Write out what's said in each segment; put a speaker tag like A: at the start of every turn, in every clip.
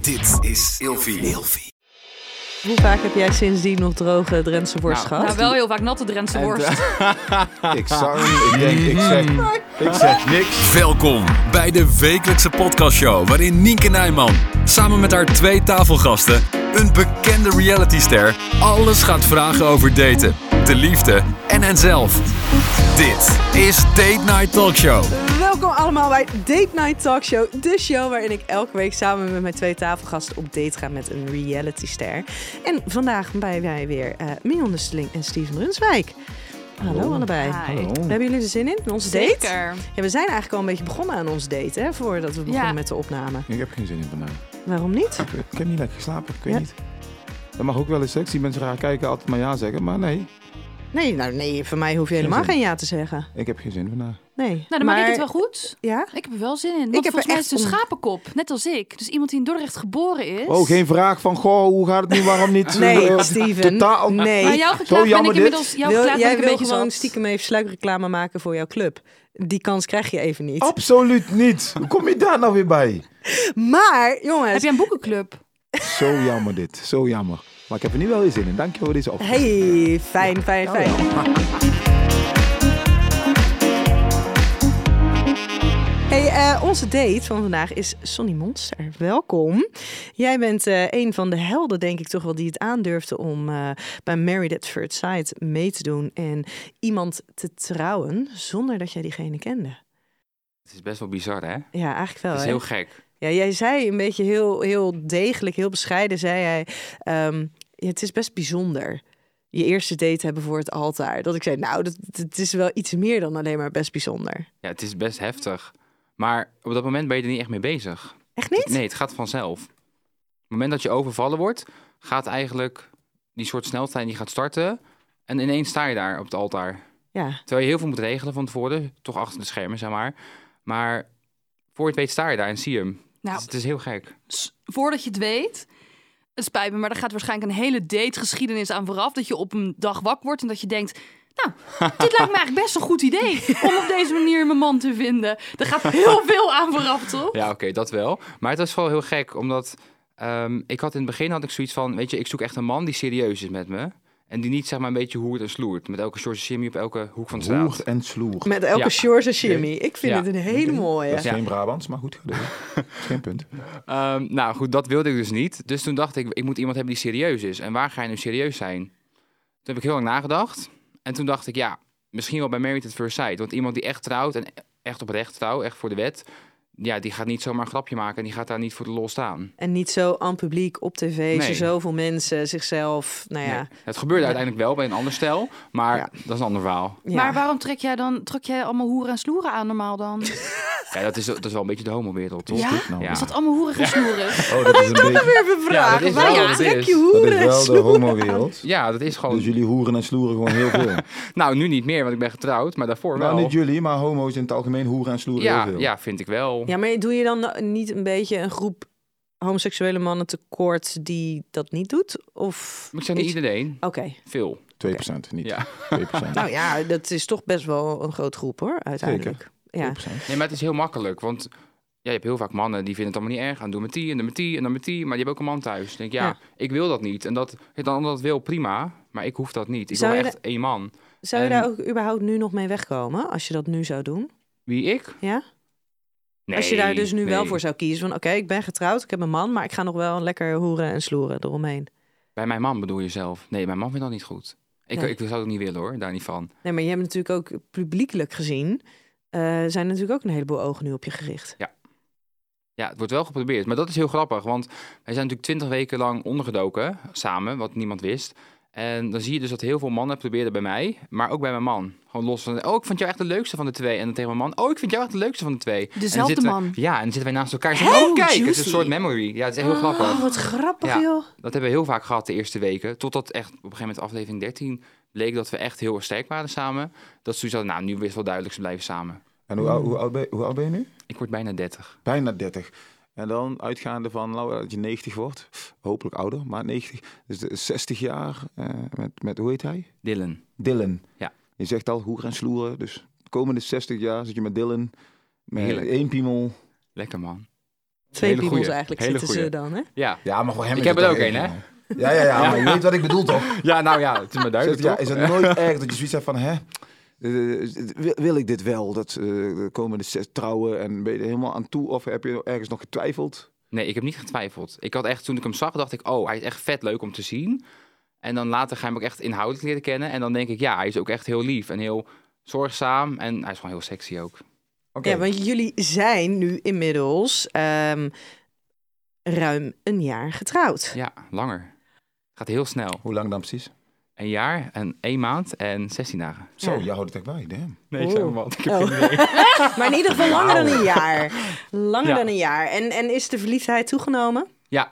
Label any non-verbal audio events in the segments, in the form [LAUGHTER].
A: Dit is Ilfie. Ilfie.
B: Hoe vaak heb jij sindsdien nog droge Drentse worst
C: Nou,
B: gehad?
D: Nou, wel heel vaak natte Drentse worst.
C: eh, Ik zag hem, ik denk, ik zeg, ik zeg niks.
A: Welkom bij de wekelijkse podcastshow waarin Nienke Nijman samen met haar twee tafelgasten, een bekende realityster, alles gaat vragen over daten, de liefde en henzelf. Dit is Date Night Talkshow.
B: Welkom allemaal bij Date Night Talk Show, de show waarin ik elke week samen met mijn twee tafelgasten op date ga met een realityster. En vandaag bij wij weer eh Mion de Sling en Steven Brunswijk. Hallo, allebei.
C: Oh.
D: Hi.
B: Hebben jullie er zin in? in onze date?
D: Zeker. Nou,
B: Ja, we zijn eigenlijk al een beetje begonnen aan ons date, hè, voordat we begonnen
D: Ja.
B: met de opname.
C: Ik heb geen zin in vandaag.
B: Waarom niet?
C: Ik, ik heb niet lekker geslapen, ik weet
B: Ja.
C: niet. Dat mag ook wel eens sexy mensen raar kijken, altijd maar ja zeggen, maar nee,
B: Nee, nou nee, van mij hoef je helemaal
C: zin.
B: geen ja te zeggen.
C: ik heb geen zin vandaag.
B: Nee.
D: Nou, dan maak ik het wel goed.
B: Ja?
D: Ik heb er wel zin in. Want
B: heb er
D: volgens mij
B: echt
D: is het een
B: om-
D: schapenkop, net als ik. Dus iemand die in Dordrecht geboren is.
C: Oh, geen vraag van, goh, hoe gaat het nu, waarom niet?
B: Nee,
C: [LAUGHS]
E: [LAUGHS]
C: Eh,
B: Steven.
C: Totaal.
B: Nee.
D: Maar jou
C: Zo
D: geklaagd ben
C: jammer
D: ik
C: dit.
D: inmiddels jou
B: Wil-
D: geklaagd ben
B: jij
D: ik een
B: wil
D: beetje
B: gewoon
D: zat.
B: stiekem even sluikreclame maken voor jouw club. Die kans krijg je even niet.
C: Absoluut niet. Hoe kom je daar nou weer bij?
B: Maar, jongens.
D: Heb jij een boekenclub?
C: Zo jammer dit, zo jammer. Maar ik heb er nu wel weer zin in, dank je voor deze oproep.
B: Hey, fijn, fijn, fijn. Hey, eh, onze date van vandaag is Sonny Monster. Welkom. Jij bent eh, een van de helden, denk ik toch wel, die het aandurfde om eh, bij Married at First Sight mee te doen en iemand te trouwen zonder dat jij diegene kende.
F: Het is best wel bizar, hè? Het
B: Ja, eigenlijk wel.
F: is
B: hè?
F: heel gek.
B: Ja, jij zei een beetje heel, heel degelijk, heel bescheiden, zei hij. ehm, ja, het is best bijzonder. Je eerste date hebben voor het altaar. Dat ik zei, nou, dat, dat is wel iets meer dan alleen maar best bijzonder.
F: Ja, het is best heftig. Maar op dat moment ben je er niet echt mee bezig.
B: Echt niet?
F: Nee, het gaat vanzelf. Op het moment dat je overvallen wordt, gaat eigenlijk die soort sneltrein die gaat starten. En ineens sta je daar op het altaar.
B: Ja,
F: Terwijl je heel veel moet regelen van tevoren. Toch achter de schermen, zeg maar. Maar voor je het weet sta je daar en zie je hem.
D: Nou,
F: Dus het is heel gek.
D: s- voordat je het weet, het spijt me, maar er gaat waarschijnlijk een hele dategeschiedenis aan vooraf. Dat je op een dag wakker wordt en dat je denkt...
C: [LAUGHS]
D: Nou, dit lijkt me eigenlijk best een goed idee om op deze manier mijn man te vinden. Er gaat heel veel aan vooraf, toch?
F: Ja, oké, dat wel. Maar het was vooral heel gek, omdat ehm, ik had in het begin had ik zoiets van, weet je, ik zoek echt een man die serieus is met me. En die niet zeg maar een beetje hoert en sloert. Met elke George Jimmy op elke hoek van de straat.
C: Roer en sloer.
B: met elke
F: Ja.
B: shores en shimmy. Ik vind
F: Ja.
B: het een hele
C: Dat
B: mooie.
C: is geen Brabants, maar goed gedaan. Geen punt.
F: Ehm, nou goed, dat wilde ik dus niet. Dus toen dacht ik, ik moet iemand hebben die serieus is. En waar ga je nu serieus zijn? Toen heb ik heel lang nagedacht. En toen dacht ik, ja, misschien wel bij Married at First Sight. Want iemand die echt trouwt en echt oprecht trouwt, echt voor de wet... Ja, die gaat niet zomaar een grapje maken en die gaat daar niet voor de lol staan.
B: En niet zo aan publiek, op tv, zo
F: Nee.
B: zoveel mensen, zichzelf. Nou ja,
F: Nee. Het gebeurde uiteindelijk wel bij een ander stel, maar
B: Ja.
F: dat is een ander verhaal.
B: ja.
D: Maar waarom trek jij dan trek jij allemaal hoeren en sloeren aan normaal dan?
F: Ja, dat is, dat is wel een beetje de homo-wereld, toch?
D: Ja?
C: Nou,
F: Ja.
D: Is dat allemaal hoeren en sloeren?
C: Oh, dat is een beetje...
B: weer bevraagd.
F: is wel
B: waarom
F: wat het
B: trek
F: is.
B: je
C: Dat
B: hoeren
C: is
B: en
C: wel de
B: snoeren
C: homo-wereld.
F: Ja, dat is gewoon...
C: Dus jullie hoeren en sloeren gewoon heel veel.
F: Nou, nu niet meer, want ik ben getrouwd, maar daarvoor wel.
C: nou, niet jullie, maar homo's in het algemeen hoeren en sloeren
F: ja,
C: heel veel.
F: ja, vind ik wel.
B: Ja, maar doe je dan niet een beetje een groep homoseksuele mannen tekort die dat niet doet? Of
F: Ik zeg niet
B: is-
F: iedereen,
B: Oké.
C: 2% niet.
F: Ja.
C: 2%.
B: [LAUGHS] Nou ja, dat is toch best wel een groot groep hoor, uiteindelijk. Ja.
C: 2%.
F: Nee, maar het is heel makkelijk, want ja, je hebt heel vaak mannen die vinden het allemaal niet erg. En doen met die en dan met die en dan met die, maar die hebben ook een man thuis. Dan denk ik, ja,
B: Ja.
F: ik wil dat niet. En dat het ander dat wil, prima, maar ik hoef dat niet. Ik
B: Zou
F: wil
B: je
F: echt één man.
B: Zou je
F: En-
B: daar ook überhaupt nu nog mee wegkomen als je dat nu zou doen?
F: Wie ik?
B: Ja?
F: Nee,
B: als je daar dus nu wel
F: nee.
B: voor zou kiezen van oké, ik ben getrouwd, ik heb een man, maar ik ga nog wel lekker hoeren en sloeren eromheen.
F: Bij mijn man bedoel je zelf. Nee, mijn man vindt dat niet goed. Ik,
B: Nee.
F: ik zou het ook niet willen hoor, daar niet van.
B: Nee, maar je hebt natuurlijk ook publiekelijk gezien, eh, zijn natuurlijk ook een heleboel ogen nu op je gericht.
F: Ja, het wordt wel geprobeerd. Maar dat is heel grappig, want wij zijn natuurlijk twintig weken lang ondergedoken samen, wat niemand wist. En dan zie je dus dat heel veel mannen probeerden bij mij, maar ook bij mijn man. Gewoon los van, oh, ik vind jou echt de leukste van de twee. En dan tegen mijn man, oh, ik vind jou echt de leukste van de twee. [LAUGHS] En dan
D: Dezelfde
F: zitten we-
D: man.
F: ja, en dan zitten wij naast elkaar. en
B: Hè?
F: zeggen, oh, kijk, het is
B: Juicy.
F: een soort memory. Ja, het is echt heel grappig.
B: Oh, wat grappig
F: Ja.
B: joh.
F: Dat hebben we heel vaak gehad de eerste weken. Totdat echt op een gegeven moment aflevering 13 bleek dat we echt heel erg sterk waren samen. Dat ze hadden, nou, nu is wel duidelijk, ze blijven samen.
C: En hoe, ou- hoe, oud ben, hoe oud ben je nu?
F: Ik word bijna 30.
C: Bijna 30. En dan uitgaande van nou, dat je 90 wordt. Hopelijk ouder, maar 90. Dus de 60 jaar eh, met, met, hoe heet hij?
F: Dylan.
C: Dylan.
F: Ja.
C: Je zegt al hoeren en sloeren. Dus de komende 60 jaar zit je met Dylan. Met
F: Heerlijk.
C: één piemel.
F: Lekker man.
B: Twee
F: Hele
B: piemels
F: goeie.
B: eigenlijk
F: Hele
B: zitten ze dan, hè?
F: Ja.
G: Ja, maar voor hem
F: Ik
G: is
F: heb
G: het
F: het
G: toch
F: ook
G: echt-
F: één,
G: Ja, ja, ja, maar je weet wat ik bedoel, toch?
F: [LAUGHS] ja, nou ja, het is maar
G: Is
F: duidelijk.
G: het, ja,
F: toch?
G: is het [LAUGHS] nooit erg dat je zoiets hebt van, hè?
E: Eh, wil, wil ik dit wel? Dat eh, de komende zes trouwen en ben je er helemaal aan toe? Of heb je ergens nog getwijfeld?
F: Nee, ik heb niet getwijfeld. Ik had echt, toen ik hem zag, dacht ik, oh, hij is echt vet leuk om te zien. En dan later ga je hem ook echt inhoudelijk leren kennen. En dan denk ik, ja, hij is ook echt heel lief en heel zorgzaam. En hij is gewoon heel sexy ook.
G: Oké.
B: Ja, want jullie zijn nu inmiddels ehm, ruim een jaar getrouwd.
F: Ja, langer. Gaat heel snel.
G: Hoe lang dan precies?
F: Een jaar en één maand en 16 dagen.
G: Zo,
B: Ja.
G: jij houdt het echt bij, damn.
F: Nee,
B: ik zeg maar
F: wat.
B: Oh. maar in ieder geval langer dan een jaar. Langer
F: Ja.
B: dan een jaar. En, en is de verliefdheid toegenomen?
F: Ja,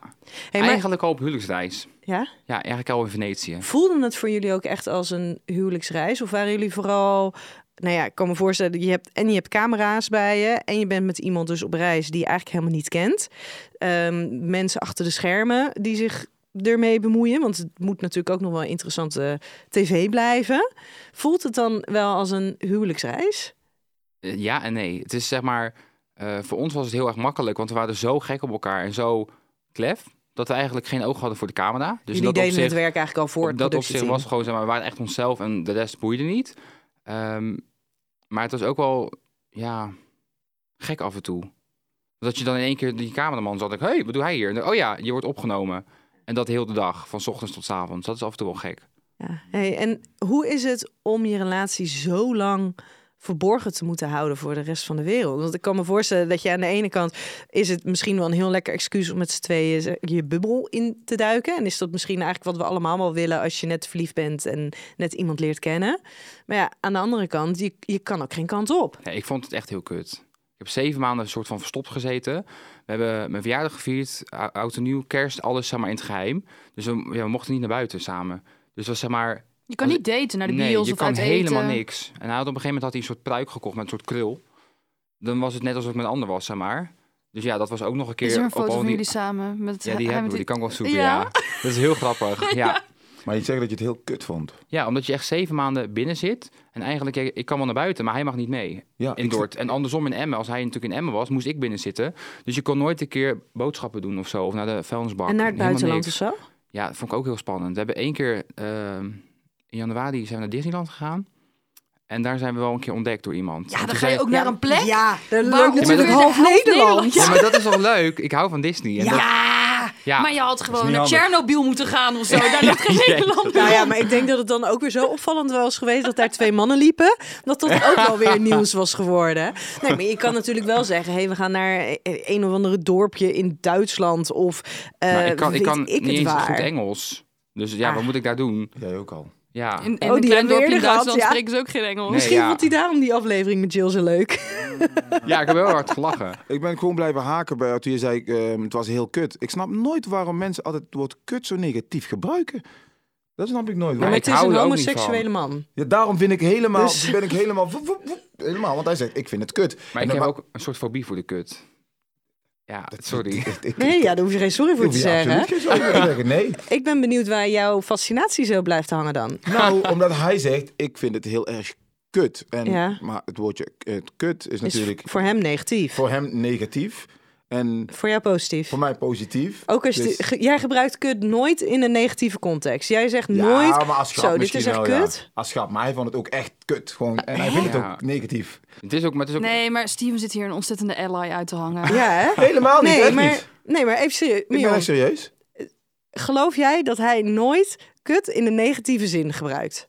B: Hey, maar-
F: eigenlijk al op huwelijksreis.
B: ja?
F: Ja, eigenlijk al in Venetië.
B: Voelde het voor jullie ook echt als een huwelijksreis? Of waren jullie vooral... Nou ja, ik kan me voorstellen, je hebt, en je hebt camera's bij je... en je bent met iemand dus op reis die je eigenlijk helemaal niet kent. Ehm, mensen achter de schermen die zich ermee bemoeien. Want het moet natuurlijk ook nog wel interessante tv blijven. Voelt het dan wel als een huwelijksreis?
F: Eh, Ja en nee. Het is zeg maar, eh, voor ons was het heel erg makkelijk, want we waren zo gek op elkaar en zo klef, dat we eigenlijk geen oog hadden voor de camera. Dus in
B: jullie
F: dat
B: deden
F: opzicht,
B: het werk eigenlijk al voor
F: op
B: het
F: dat opzicht
B: productieteam.
F: was het gewoon, zeg maar, we waren echt onszelf en de rest boeide niet. Ehm, maar het was ook wel, ja, gek af en toe. Dat je dan in één keer die cameraman zat, ik, hé, hey, wat doe hij hier? En dan, oh ja, je wordt opgenomen. En dat heel de dag, van 's ochtends tot 's avonds. Dat is af en toe wel gek.
B: Ja. Hey, en hoe is het om je relatie zo lang verborgen te moeten houden voor de rest van de wereld? Want ik kan me voorstellen dat je aan de ene kant is het misschien wel een heel lekker excuus om met z'n tweeën ze- je bubbel in te duiken. En is dat misschien eigenlijk wat we allemaal wel willen als je net verliefd bent en net iemand leert kennen. Maar ja, aan de andere kant, je, je kan ook geen kant op.
F: Nee, ik vond het echt heel kut. Ik heb zeven maanden een soort van verstopt gezeten. We hebben mijn verjaardag gevierd, ou- oud en nieuw, kerst, alles zeg maar in het geheim. Dus we, ja, we mochten niet naar buiten samen. Dus het was zeg maar,
D: Je kan niet daten naar de
F: nee,
D: bios
F: je
D: of
F: kan
D: uit
F: helemaal
D: eten.
F: niks. En hij had op een gegeven moment had hij een soort pruik gekocht met een soort krul. Dan was het net alsof ik met een ander was, zeg maar. Dus ja, dat was ook nog een keer
D: Is er een
F: op
D: foto
F: al
D: van
F: die...
D: jullie samen? Met
F: Ja, die
D: hij
F: hebben
D: met
F: we, die kan ik wel zoeken, ja.
D: Ja. Ah,
F: Dat is heel
D: [LAUGHS]
F: grappig, ja.
G: Maar je zegt dat je het heel kut vond.
F: Ja, omdat je echt zeven maanden binnen zit. En eigenlijk, ik ik kan wel naar buiten, maar hij mag niet mee.
G: Ja,
F: in
G: ik-
F: Dordt. En andersom in Emmen. Als hij natuurlijk in Emmen was, moest ik binnen zitten. Dus je kon nooit een keer boodschappen doen of zo. Of naar de vuilnisbak.
B: en naar het
F: Helemaal
B: buitenland of
F: niks.
B: zo?
F: Ja, dat vond ik ook heel spannend. We hebben één keer ehm, in januari zijn we naar Disneyland gegaan. En daar zijn we wel een keer ontdekt door iemand. En
D: Ja, dan
F: toen
D: ga je
F: zei-
D: ook naar een plek.
B: Ja, daar
D: Waarom
B: loopt natuurlijk
D: gebeurt er
B: half
D: helft
B: Nederland.
F: Ja, maar dat is wel leuk. Ik hou van Disney. En dat-
D: Ja,
F: ja.
D: maar je had gewoon
G: niet
D: naar
G: handig.
D: Tsjernobyl moeten gaan
F: [LAUGHS]
D: of zo. Daar ligt geen Nederland
B: Nou ja, maar ik denk dat het dan ook weer zo opvallend was geweest dat daar twee mannen liepen. Dat dat ook wel
F: [LAUGHS]
B: weer nieuws was geworden. Nee, maar je kan natuurlijk wel zeggen: hé, hey, we gaan naar eh, een of andere dorpje in Duitsland. Of eh,
F: maar Nou, ik kan, ik
B: weet
F: kan
B: ik
F: niet
B: het
F: eens
B: waar.
F: goed Engels. Dus ja,
B: Ah.
F: wat moet ik daar doen?
G: Jij ook al.
F: Ja.
D: In, in
B: Oh,
D: een
B: die
D: klein
B: hebben we
D: dorpje in
B: eerder gehad,
D: Duitsland
B: ja.
D: spreken ze ook geen Engels.
F: Nee.
B: Misschien
F: ja.
B: vond hij daarom die aflevering met Jill zo leuk.
F: ja, ik heb wel hard gelachen.
E: Ik ben gewoon blijven haken bij wat je zei, ehm, het was heel kut. Ik snap nooit waarom mensen altijd het woord kut zo negatief gebruiken. Dat snap ik nooit.
F: Ja,
B: maar
E: waarom.
F: ik
B: het is
F: hou
B: een
F: er ook niet
B: homoseksuele man.
E: Ja, daarom vind ik helemaal,
B: Dus-
E: ben ik helemaal, woep, woep, woep, helemaal, want hij zegt, ik vind het kut.
F: Maar ik heb ook een soort fobie voor de kut. Ja, sorry.
B: Nee, ja, daar hoef je geen sorry voor te zeggen.
G: zeggen. Nee.
B: Ik ben benieuwd waar jouw fascinatie zo blijft hangen dan.
E: Nou, [LAUGHS] omdat hij zegt, ik vind het heel erg kut. En,
B: Ja.
E: Maar het woordje eh, kut is
B: Is
E: natuurlijk
B: voor hem negatief.
E: voor hem negatief en
B: Voor jou positief.
E: voor mij positief.
B: Ook als je,
E: Dus-
B: ge- jij gebruikt kut nooit in een negatieve context. Jij zegt
E: Ja,
B: nooit.
E: maar als grap
B: zo, dit
E: misschien
B: is echt
E: wel, ja.
B: kut.
E: Als grap, maar hij vond het ook echt kut. Gewoon, en hij vindt het
F: Ja.
E: ook negatief.
F: Het is ook, maar het is ook
D: Nee, maar Steven zit hier een ontzettende ally uit te hangen.
B: Ja, hè?
E: Helemaal niet,
B: Ah. Nee,
E: echt
B: maar,
E: niet.
B: nee, maar even serieus.
E: Ik ben
B: Mion,
E: echt serieus.
B: geloof jij dat hij nooit kut in de negatieve zin gebruikt?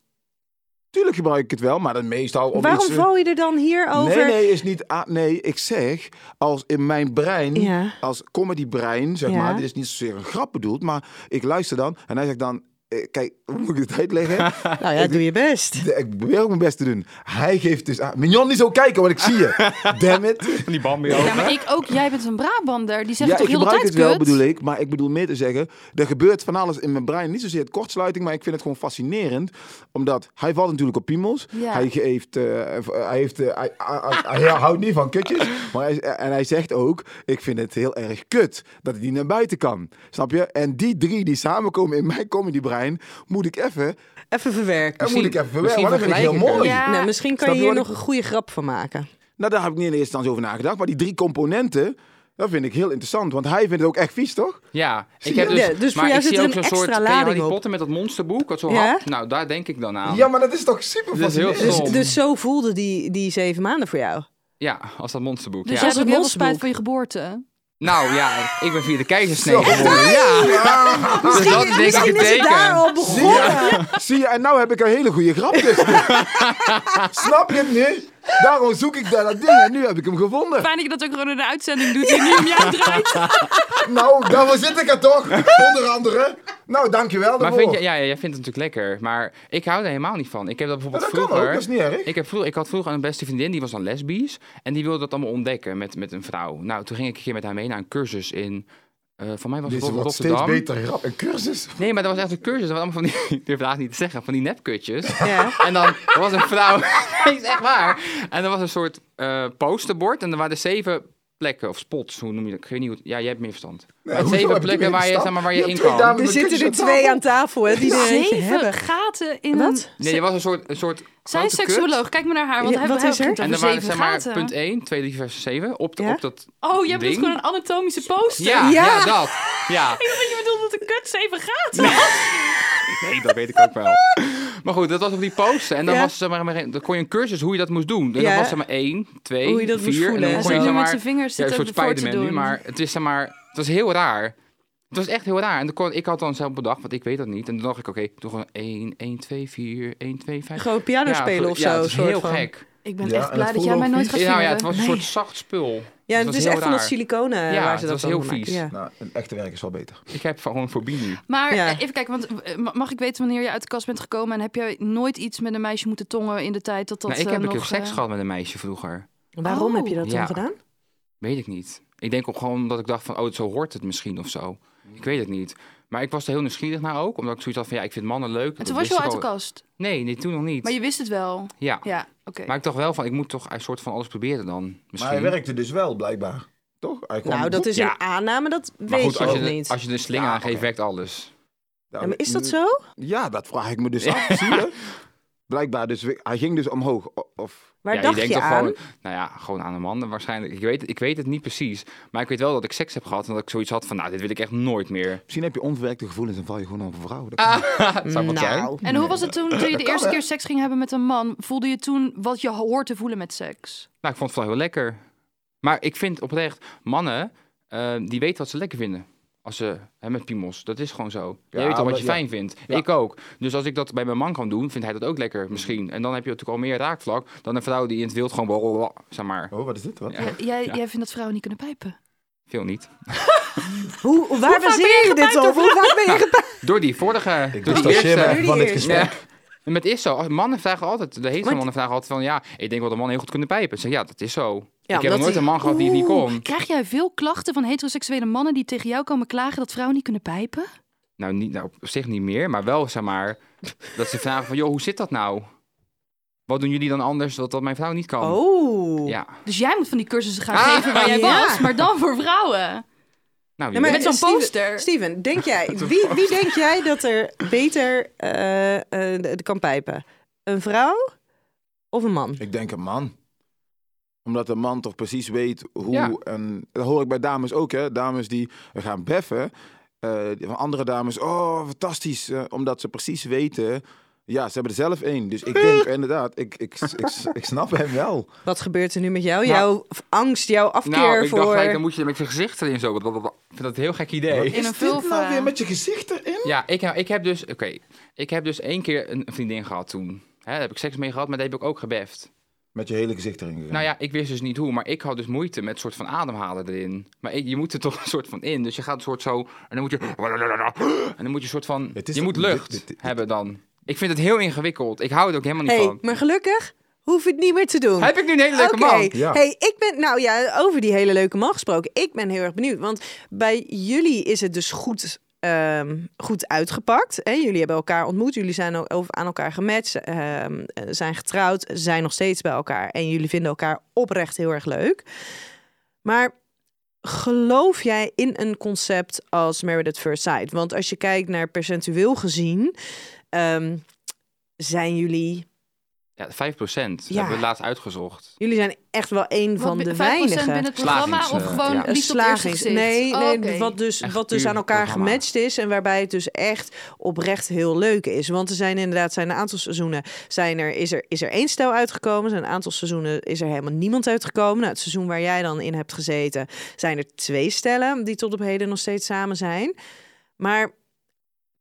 E: Tuurlijk gebruik ik het wel, maar dan meestal... Om
B: Waarom
E: iets, eh,
B: val je er dan hier over?
E: Nee, nee, is niet... a- nee, ik zeg, als in mijn brein,
B: Ja.
E: als comedybrein, zeg
B: Ja.
E: maar... Dit is niet zozeer een grap bedoeld, maar ik luister dan en hij zegt dan... eh, Kijk, hoe moet ik
B: [LAUGHS]
E: dit uitleggen?
B: Nou ja, doe je best.
E: De- ik probeer ook mijn best te doen. Hij geeft dus aan... Mignon, niet zo kijken, want ik zie
B: [LAUGHS]
E: je. Damn it.
F: die bambi
D: Ja, maar ik ook. Jij bent een Brabander. Die zegt
E: Ja,
D: toch
E: ik
D: heel de
E: gebruik
D: tijd
E: het wel,
D: kut? Dus
E: bedoel ik. Maar ik bedoel meer te zeggen, er gebeurt van alles in mijn brein. Niet zozeer het kortsluiting, maar ik vind het gewoon fascinerend. Omdat hij valt natuurlijk op piemels.
D: Ja.
E: Hij, heeft, eh, hij, heeft, eh, hij, hij- hij- hij houdt niet van
D: [LAUGHS]
E: kutjes. Maar hij, en hij zegt ook, ik vind het heel erg kut dat hij niet naar buiten kan. Snap je? En die drie die samenkomen in mijn comedybrein, moet ik even...
B: Even verwerken.
E: En moet ik even verwerken,
F: misschien
E: want dat vind ik heel
F: vergelijk ik
E: mooi.
D: het. Ja.
B: Nou, misschien kan
E: Snap
B: je
E: je
B: hier
E: wat
B: nog een goede grap van maken.
E: Nou, daar heb ik niet in eerste instantie over nagedacht. Maar die drie componenten,
C: Dat vind ik heel interessant, want hij vindt het ook echt vies, toch?
F: Ja,
C: Zie
F: ik heb
C: je?
F: dus,
B: Ja, dus voor
F: maar
B: jou
F: ik
B: zit
F: zie
B: er
F: ook
B: een
F: zo'n
B: extra
F: soort twee
B: lading
F: Harry
B: op.
F: Potter met dat monsterboek, wat zo
B: Ja?
F: hap. Nou, daar denk ik dan aan.
E: Ja, maar dat is toch super
F: Dat is heel
E: fascinerend?
B: Dus,
F: Stom.
B: dus zo voelde die, die zeven maanden voor jou.
F: Ja, als dat monsterboek.
D: Dus
F: ja.
D: jij hebt ook heel veel
B: monsterboek.
D: spijt van je geboorte.
F: Nou ja, ik ben via de keizersnee
E: Zo.
F: geboren. Ja, dus dat is denk ik
B: Misschien
F: het
B: is het daar
F: teken.
B: al begonnen.
C: Zie je, en nou heb ik een hele goede grap.
F: [LAUGHS]
C: Dus. Snap je hem nu? Daarom zoek ik daar dat ding en nu heb ik hem gevonden.
D: Fijn dat je dat ook gewoon in de uitzending doet en niet om jou draait.
C: Nou, daarvoor zit ik er toch, onder andere. Nou, dankjewel
F: Maar
C: daarvoor.
F: vind je, ja, ja, jij vindt het natuurlijk lekker. Maar ik hou er helemaal niet van. Ik heb dat bijvoorbeeld
E: Maar dat kan
F: vroeger.
E: ook, dat is niet erg.
F: Ik, heb vroeger, ik had vroeger een beste vriendin, die was dan lesbisch. En die wilde dat allemaal ontdekken met, met een vrouw. Nou, toen ging ik een keer met haar mee naar een cursus in. eh van mij was het
C: Deze
F: Rot-
C: wordt
F: Rotterdam.
C: steeds beter grap. Een cursus?
F: Nee, maar dat was echt een cursus. Dat waren allemaal van die, [LAUGHS] ik durf het haast niet te zeggen, van die nepkutjes.
B: Ja.
F: En dan er was een vrouw, [LAUGHS] nee, is echt waar. En er was een soort eh, posterbord en er waren zeven plekken of spots, hoe noem je dat? Ik weet niet hoe, ja, jij hebt meer verstand. Maar
C: hoezo? Heb
F: zeven
C: je
F: plekken waar je,
C: ingestapt?
F: zeg maar, waar
C: Je
F: je in
C: hebt twee
F: kan.
C: dames-
B: Er zitten er twee aan tafel hè, die er eentje
D: Zeven
B: hebben.
D: gaten in
B: Wat?
D: een...
F: Nee, er was een soort, een soort
D: Zij is
F: grote kut.
D: seksuoloog, kijk maar naar haar. Want
B: Ja,
D: hij
B: wat
D: hij
B: is er?
D: begint
F: En
D: over
F: er waren
D: zeven
F: zeg maar
D: gaten.
F: punt 1, 2, 3, 4, 7 op, de-
B: Ja?
F: op dat
D: Oh, je hebt dus
F: ding.
D: gewoon een anatomische poster.
F: ja,
B: Ja.
F: ja. dat. Ja.
D: Ik dacht [LAUGHS] dat je bedoelde dat de kut zeven gaten
F: Nee, dat weet ik ook
B: [LAUGHS]
F: wel. Maar goed, dat was op die poster. En dan,
B: Ja.
F: was, zeg maar, dan kon je een cursus hoe je dat moest doen. En
B: Ja.
F: dan was er maar 1, 2,
B: Hoe je dat moest
F: 4. En
B: voelen. Hij
F: dan kon
D: had.
B: zit
D: Hij
F: je zeg
D: nu met
F: maar-
D: zijn vingers
F: Ja, een
D: zitten
F: soort
D: ervoor te
F: Spider-Man nu,
D: doen.
F: maar het is zeg maar, het was heel raar. Het was echt heel raar. En dan kon, ik had dan zelf bedacht, want ik weet dat niet. En toen dacht ik, oké, doe gewoon 1, 1, 2, 4, 1, 2, 5.
B: Gewoon piano spelen of zo.
F: Ja, het
B: een
F: is
B: soort
F: heel
B: van.
F: gek.
D: Ik ben
E: Ja,
D: echt
E: en
D: blij
E: het
D: dat jij mij
E: voelde ook
D: nooit gaat
E: vies.
F: Ja, nou ja,
D: vingeren.
F: het was een soort zacht spul.
B: Ja, het
F: Het was
B: is
F: heel
B: echt van dat
F: raar.
B: siliconen eh,
F: Ja,
B: waar
F: het
B: ze dat
F: was
B: van
F: heel
B: maken.
F: vies.
B: Ja.
E: Nou, een echte werk is wel beter.
F: Ik heb gewoon een fobie nu.
D: Maar
B: Ja.
D: eh, even kijken, want eh, ma- mag ik weten wanneer je uit de kast bent gekomen? En heb jij nooit iets met een meisje moeten tongen in de tijd dat dat
F: Maar Nou, ik
D: eh,
F: heb een
D: nog...
F: keer seks
D: eh,
F: gehad met een meisje vroeger.
B: Waarom
D: Oh.
B: heb je dat
F: Ja.
B: dan gedaan?
F: Weet ik niet. Ik denk ook gewoon omdat ik dacht van, oh, zo hoort het misschien of zo. Ik weet het niet. Maar ik was er heel nieuwsgierig naar ook, omdat ik zoiets had van, ja, ik vind mannen leuk.
D: En
F: Dat
D: toen was je
F: wist
D: al uit de
F: ik al-
D: kast.
F: Nee, nee, toen nog niet.
D: Maar je wist het wel.
F: Ja.
D: Ja, oké.
F: Maar ik dacht wel van, ik moet toch een soort van alles proberen dan.
E: Maar
F: Misschien.
E: hij werkte dus wel, blijkbaar. Toch? Hij kwam
B: Nou, dat is
F: Ja.
B: een aanname, dat
F: Maar
B: weet
F: goed,
B: je
F: als
B: ook
F: je, de,
B: niet.
F: als je Mm. de sling
E: Ja,
F: aangeeft,
E: oké.
F: werkt alles.
B: Ja, maar is dat zo?
C: Ja, dat vraag ik me dus
F: [LAUGHS]
C: af. Zie je? Blijkbaar, dus, we- hij ging dus omhoog. o- Of,
B: Waar
F: ja,
B: dacht je,
F: denkt toch
B: aan?
F: Gewoon, nou ja, gewoon aan een man waarschijnlijk. Ik weet, het- ik weet het niet precies. Maar ik weet wel dat ik seks heb gehad en dat ik zoiets had van, nou, dit wil ik echt nooit meer. [LAUGHS]
C: misschien heb je onverwerkte gevoelens en val je gewoon over vrouwen. Dat
F: Dat zou wat zijn.
B: Nou,
D: En hoe was het toen, toen je de eerste keer seks ging hebben met een man? Voelde je toen wat je hoort te voelen met seks?
F: Nou, ik vond het wel heel lekker. Maar ik vind oprecht, mannen, eh, die weten wat ze lekker vinden. Als ze, hè, met piemels, dat is gewoon zo. Jij
E: Ja,
F: weet al wat
E: maar-
F: je
E: ja.
F: fijn vindt. Ik ook. Dus als ik dat bij mijn man kan doen, vindt hij dat ook lekker misschien. En dan heb je natuurlijk al meer raakvlak dan een vrouw die in het wild gewoon... blablabla, zeg maar,
E: Oh, wat is dit? Wat?
F: Ja.
D: J- Eh, Jij, jij vindt dat vrouwen niet kunnen pijpen.
F: veel niet.
B: hoe, waar baseer je dit op? Hoe vaak ben je gepakt?
F: Door die vorige,
E: Ik
F: door
E: was
F: die eerste.
E: van dit
B: Ja.
E: gesprek.
F: Ja. Maar het is zo. Als- Mannen vragen altijd, de hele mannen vragen altijd van... Ja, ik denk wel dat mannen heel goed kunnen pijpen. Ik zeg, ja, dat is zo. ik heb
B: omdat
F: nog nooit
B: die-
F: een man gehad die het niet
D: Oeh,
F: kon.
D: Krijg jij veel klachten van heteroseksuele mannen die tegen jou komen klagen dat vrouwen niet kunnen pijpen?
F: Nou, niet, nou, op zich niet meer, maar wel zeg maar. dat ze vragen van, joh, hoe zit dat nou? Wat doen jullie dan anders wat, dat mijn vrouw niet kan?
B: Oh.
F: Nou. Ja.
D: Dus jij moet van die cursussen gaan
F: Ah.
D: geven waar jij
B: Ja.
D: was, maar dan voor vrouwen.
F: Nou,
B: Nee,
F: wie
B: maar
F: weet.
D: Met zo'n
B: Steven-
D: poster.
B: Steven, denk jij, wie, wie denk jij dat er beter eh, eh, de- de kan pijpen? Een vrouw of een man?
E: Ik denk een man.
C: man. Omdat een man toch precies weet hoe...
F: Ja.
C: En, dat hoor ik bij dames ook, hè. Dames die gaan beffen. eh, van andere dames, oh, fantastisch. eh, omdat ze precies weten... Ja, ze hebben er zelf één. Dus ik
E: [LAUGHS]
C: denk inderdaad, ik, ik, ik, ik snap hem wel.
B: Wat gebeurt er nu met jou?
F: Nou-
B: jouw angst, jouw afkeer
F: nou, ik
B: voor...
F: dacht gelijk, dan moet je er met je gezicht erin zo. blablabla. Ik vind dat een heel gek idee.
D: In een
E: Is dit nou
D: vulva.
E: weer met je gezicht erin?
F: Ja, ik, ik heb dus, oké, ik heb dus één keer een vriendin gehad toen. Hè, daar heb ik seks mee gehad, maar daar heb ik ook gebeft.
E: Met je hele gezicht erin gegaan.
F: Nou ja, ik wist dus niet hoe, maar ik had dus moeite met een soort van ademhalen erin. Maar ik- je moet er toch een soort van in, dus je gaat een soort zo, en dan moet je, en dan moet je een soort van,
E: Het is
F: je
E: toch-
F: moet lucht
E: dit- dit- dit-
F: hebben dan. Ik vind het heel ingewikkeld, ik hou het ook helemaal niet
B: hey,
F: van.
B: maar gelukkig hoef je het niet meer te doen.
F: Heb ik nu een hele leuke
B: Oké.
F: man?
E: Ja.
B: Hey, ik ben, nou ja, over die hele leuke man gesproken. Ik ben heel erg benieuwd, want bij jullie is het dus goed, ehm, goed uitgepakt. Hè? Jullie hebben elkaar ontmoet, jullie zijn al- over- aan elkaar gematcht, ehm, eh, zijn getrouwd, zijn nog steeds bij elkaar. En jullie vinden elkaar oprecht heel erg leuk. Maar geloof jij in een concept als Married at First Sight? Want als je kijkt naar percentueel gezien, ehm, zijn jullie
F: Ja, 5 procent.
B: Ja.
F: Hebben we laatst uitgezocht.
B: Jullie zijn echt wel een van
D: Wat,
B: de
D: 5% binnen
B: weinigen.
D: het programma of
F: Slagings, eh,
D: gewoon
F: ja.
D: liefst Nou, op het eerste
B: Slagings.
D: gezicht? Oh,
B: Nee, nee
D: Oké. Nou,
B: wat, dus,
F: Echt
B: wat dus
F: puur
B: aan elkaar
F: programma.
B: gematcht is en waarbij het dus echt oprecht heel leuk is. Want er zijn inderdaad zijn een aantal seizoenen zijn er, is, er, is er één stijl uitgekomen. Zijn een aantal seizoenen is er helemaal niemand uitgekomen. Nou, het seizoen waar jij dan in hebt gezeten zijn er twee stellen die tot op heden nog steeds samen zijn. Maar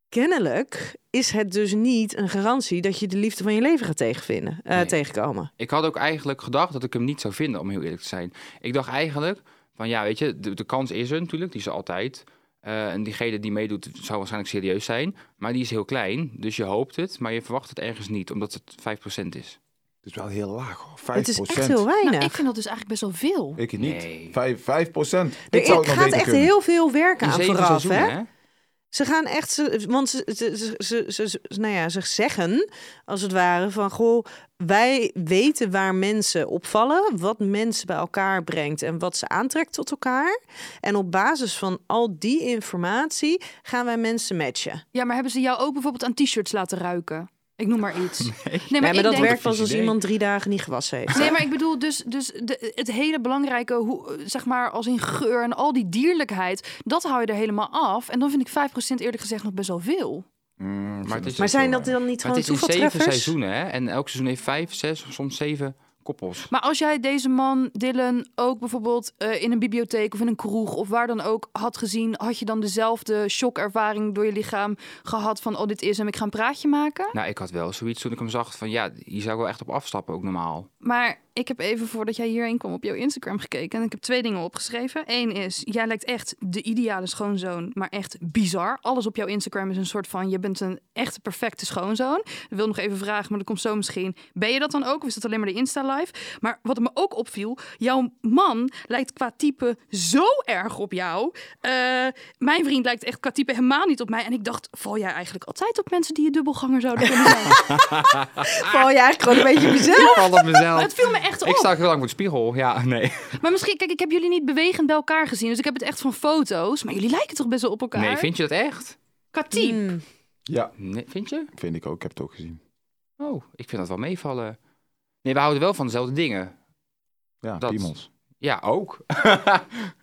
B: kennelijk is het dus niet een garantie dat je de liefde van je leven gaat tegenvinden, eh,
F: Nee.
B: tegenkomen.
F: Ik had ook eigenlijk gedacht dat ik hem niet zou vinden, om heel eerlijk te zijn. Ik dacht eigenlijk van ja, weet je, de, de kans is er natuurlijk, die is er altijd. Eh, en diegene die meedoet zou waarschijnlijk serieus zijn. Maar die is heel klein, dus je hoopt het, maar je verwacht het ergens niet, omdat het 5% is.
E: Het is wel heel laag, hoor. 5%.
B: Het is echt heel weinig.
D: Nou, ik vind dat dus eigenlijk best wel veel.
E: Ik niet.
F: Nee.
E: 5, 5 procent.
B: Er
E: Ik zou het nog
B: gaat
E: beter
B: echt
E: kunnen.
B: heel veel werk
F: In
B: aan
F: zeven
B: vooraf, hè?
F: seizoenen, hè?
B: Ze gaan echt, ze- want ze, ze, ze, ze, ze- ze- nou ja, ze zeggen als het ware van goh, wij weten waar mensen opvallen, wat mensen bij elkaar brengt en wat ze aantrekt tot elkaar. En op basis van al die informatie gaan wij mensen matchen.
D: Ja, maar hebben ze jou ook bijvoorbeeld aan t-shirts laten ruiken? Ik noem maar
F: [LAUGHS]
D: iets. Nee, maar,
B: Maar, ja,
D: ik
B: maar dat
D: denk-
B: werkt pas als
F: Idee.
B: iemand drie dagen niet gewassen heeft.
D: Nee, maar ik bedoel dus, dus de, het hele belangrijke, hoe, zeg maar, als in geur en al die dierlijkheid, dat hou je er helemaal af. En dan vind ik 5% eerlijk gezegd nog best wel veel.
F: Maar, het is
B: Maar
F: ook
B: zijn
F: wel-
B: dat dan niet
F: Maar
B: gewoon
F: het is in zeven
B: toevaltreffers?
F: seizoenen, hè? En elk seizoen heeft vijf, zes of soms zeven koppels.
D: Maar als jij deze man, Dylan, ook bijvoorbeeld eh, in een bibliotheek of in een kroeg of waar dan ook had gezien, had je dan dezelfde shockervaring door je lichaam gehad van, oh, dit is hem, ik ga een praatje maken?
F: Nou, ik had wel zoiets toen ik hem zag van ja, hier zou ik wel echt op afstappen, ook normaal.
D: Maar ik heb even voordat jij hierheen kwam op jouw Instagram gekeken. En ik heb twee dingen opgeschreven. Eén is, jij lijkt echt de ideale schoonzoon, maar echt bizar. Alles op jouw Instagram is een soort van, je bent een echte perfecte schoonzoon. Ik wil nog even vragen, maar dat komt zo misschien. Ben je dat dan ook? Of is dat alleen maar de Insta-live? Maar wat me ook opviel, jouw man lijkt qua type zo erg op jou. Eh, mijn vriend lijkt echt qua type helemaal niet op mij. En ik dacht, val jij eigenlijk altijd op mensen die je dubbelganger zouden kunnen zijn?
B: Val je eigenlijk gewoon een beetje mezelf?
F: Ik val op
D: Maar
F: mezelf.
D: het viel me echt op.
F: Ik sta ook heel lang voor de spiegel. Ja, nee.
D: Maar misschien, kijk, ik heb jullie niet bewegend bij elkaar gezien. Dus ik heb het echt van foto's. Maar jullie lijken toch best wel op elkaar?
F: Nee, vind je dat echt?
D: Qua type.
B: Hmm.
E: Ja,
F: Nee, vind je?
E: vind ik ook. Ik heb het ook gezien.
F: Oh, ik vind dat wel meevallen. Nee, we houden wel van dezelfde dingen.
E: Ja,
F: Dat-
E: piemels.
F: Ja, ook. [LAUGHS]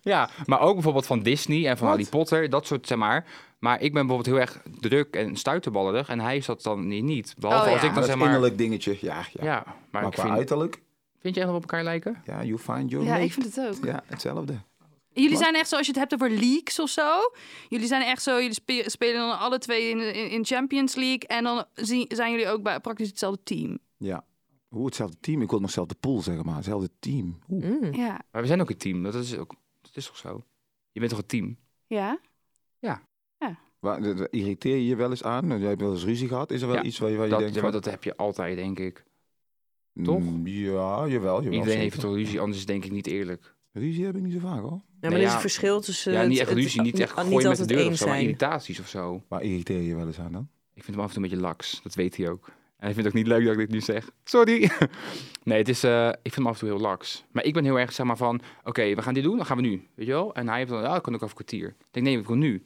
F: ja, maar ook bijvoorbeeld van Disney en van
E: Wat?
F: Harry Potter, dat soort, zeg maar. Maar ik ben bijvoorbeeld heel erg druk en stuiterballerig en hij is dat dan niet. niet. Behalve
D: Oh, ja.
F: als ik dan
E: Dat
F: zeg
E: is
F: maar...
E: innerlijk dingetje. Ja, ja.
F: Ja, maar,
E: maar
F: ik
E: qua
F: vind...
E: uiterlijk,
F: Vind je echt wel op elkaar lijken?
E: ja, you find your
D: Ja,
E: mate.
D: ik vind het ook.
E: Ja, hetzelfde.
D: Jullie
E: Wat?
D: zijn echt zo, als je het hebt over leaks of zo. Jullie zijn echt zo, jullie spe- spelen dan alle twee in, in, in Champions League. En dan zie- zijn jullie ook bij praktisch hetzelfde team.
E: Ja. Hoe hetzelfde team. Ik wil nog hetzelfde pool zeggen, maar hetzelfde team. Oeh.
B: Mm.
D: Ja.
F: Maar we zijn ook een team, dat is, ook, dat is toch zo? Je bent toch een team?
D: Ja?
E: Waar- d- d- Irriteer je je wel eens aan? Jij hebt wel eens ruzie gehad. Is er wel
F: Ja,
E: iets waar je, waar je
F: Dat,
E: denkt
F: ja,
E: van...
F: maar dat heb je altijd, denk ik. toch?
E: Mm, Ja, jawel. jawel
F: Iedereen heeft
E: zeker.
F: toch ruzie, anders is het denk ik niet eerlijk.
E: Ruzie heb ik niet zo vaak, hoor.
B: Ja, maar
F: Nee,
B: er is
F: ja.
B: een verschil tussen
F: ja,
B: het-
F: niet echt
B: het-
F: ruzie, niet echt gooien met de
B: altijd
F: deur of
B: eens
F: zo, maar
B: zijn.
F: irritaties of zo.
E: Maar irriteer je je wel eens aan dan?
F: Ik vind hem af en toe een beetje laks. Dat weet hij ook. En hij vindt het ook niet leuk dat ik dit nu zeg. Sorry. [LAUGHS] Nee, het is, eh, ik vind hem af en toe heel laks. Maar ik ben heel erg zeg maar van, oké, we gaan dit doen, dan gaan we nu. Weet je wel? En hij heeft dan, ja, ik kan ook over een kwartier. Ik denk, nee, ik wil nu.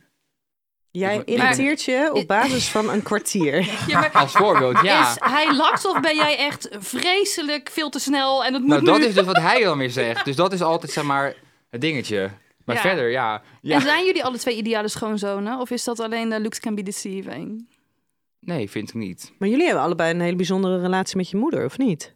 B: Jij
F: Maar-
B: irriteert je op basis van een kwartier.
D: ja maar
F: [LAUGHS] Als
D: [LAUGHS]
F: voorbeeld, ja.
D: Is hij laks of ben jij echt vreselijk veel te snel en het moet
F: Nou, dat
D: nu?
F: is dus wat hij dan weer zegt. Dus dat is altijd, zeg maar, het dingetje. Maar
D: Ja.
F: verder, ja.
D: En
F: ja.
D: zijn jullie alle twee ideale schoonzonen? Of is dat alleen eh, looks can be deceiving?
F: Nee, vind ik niet.
B: Maar jullie hebben allebei een hele bijzondere relatie met je moeder, of niet?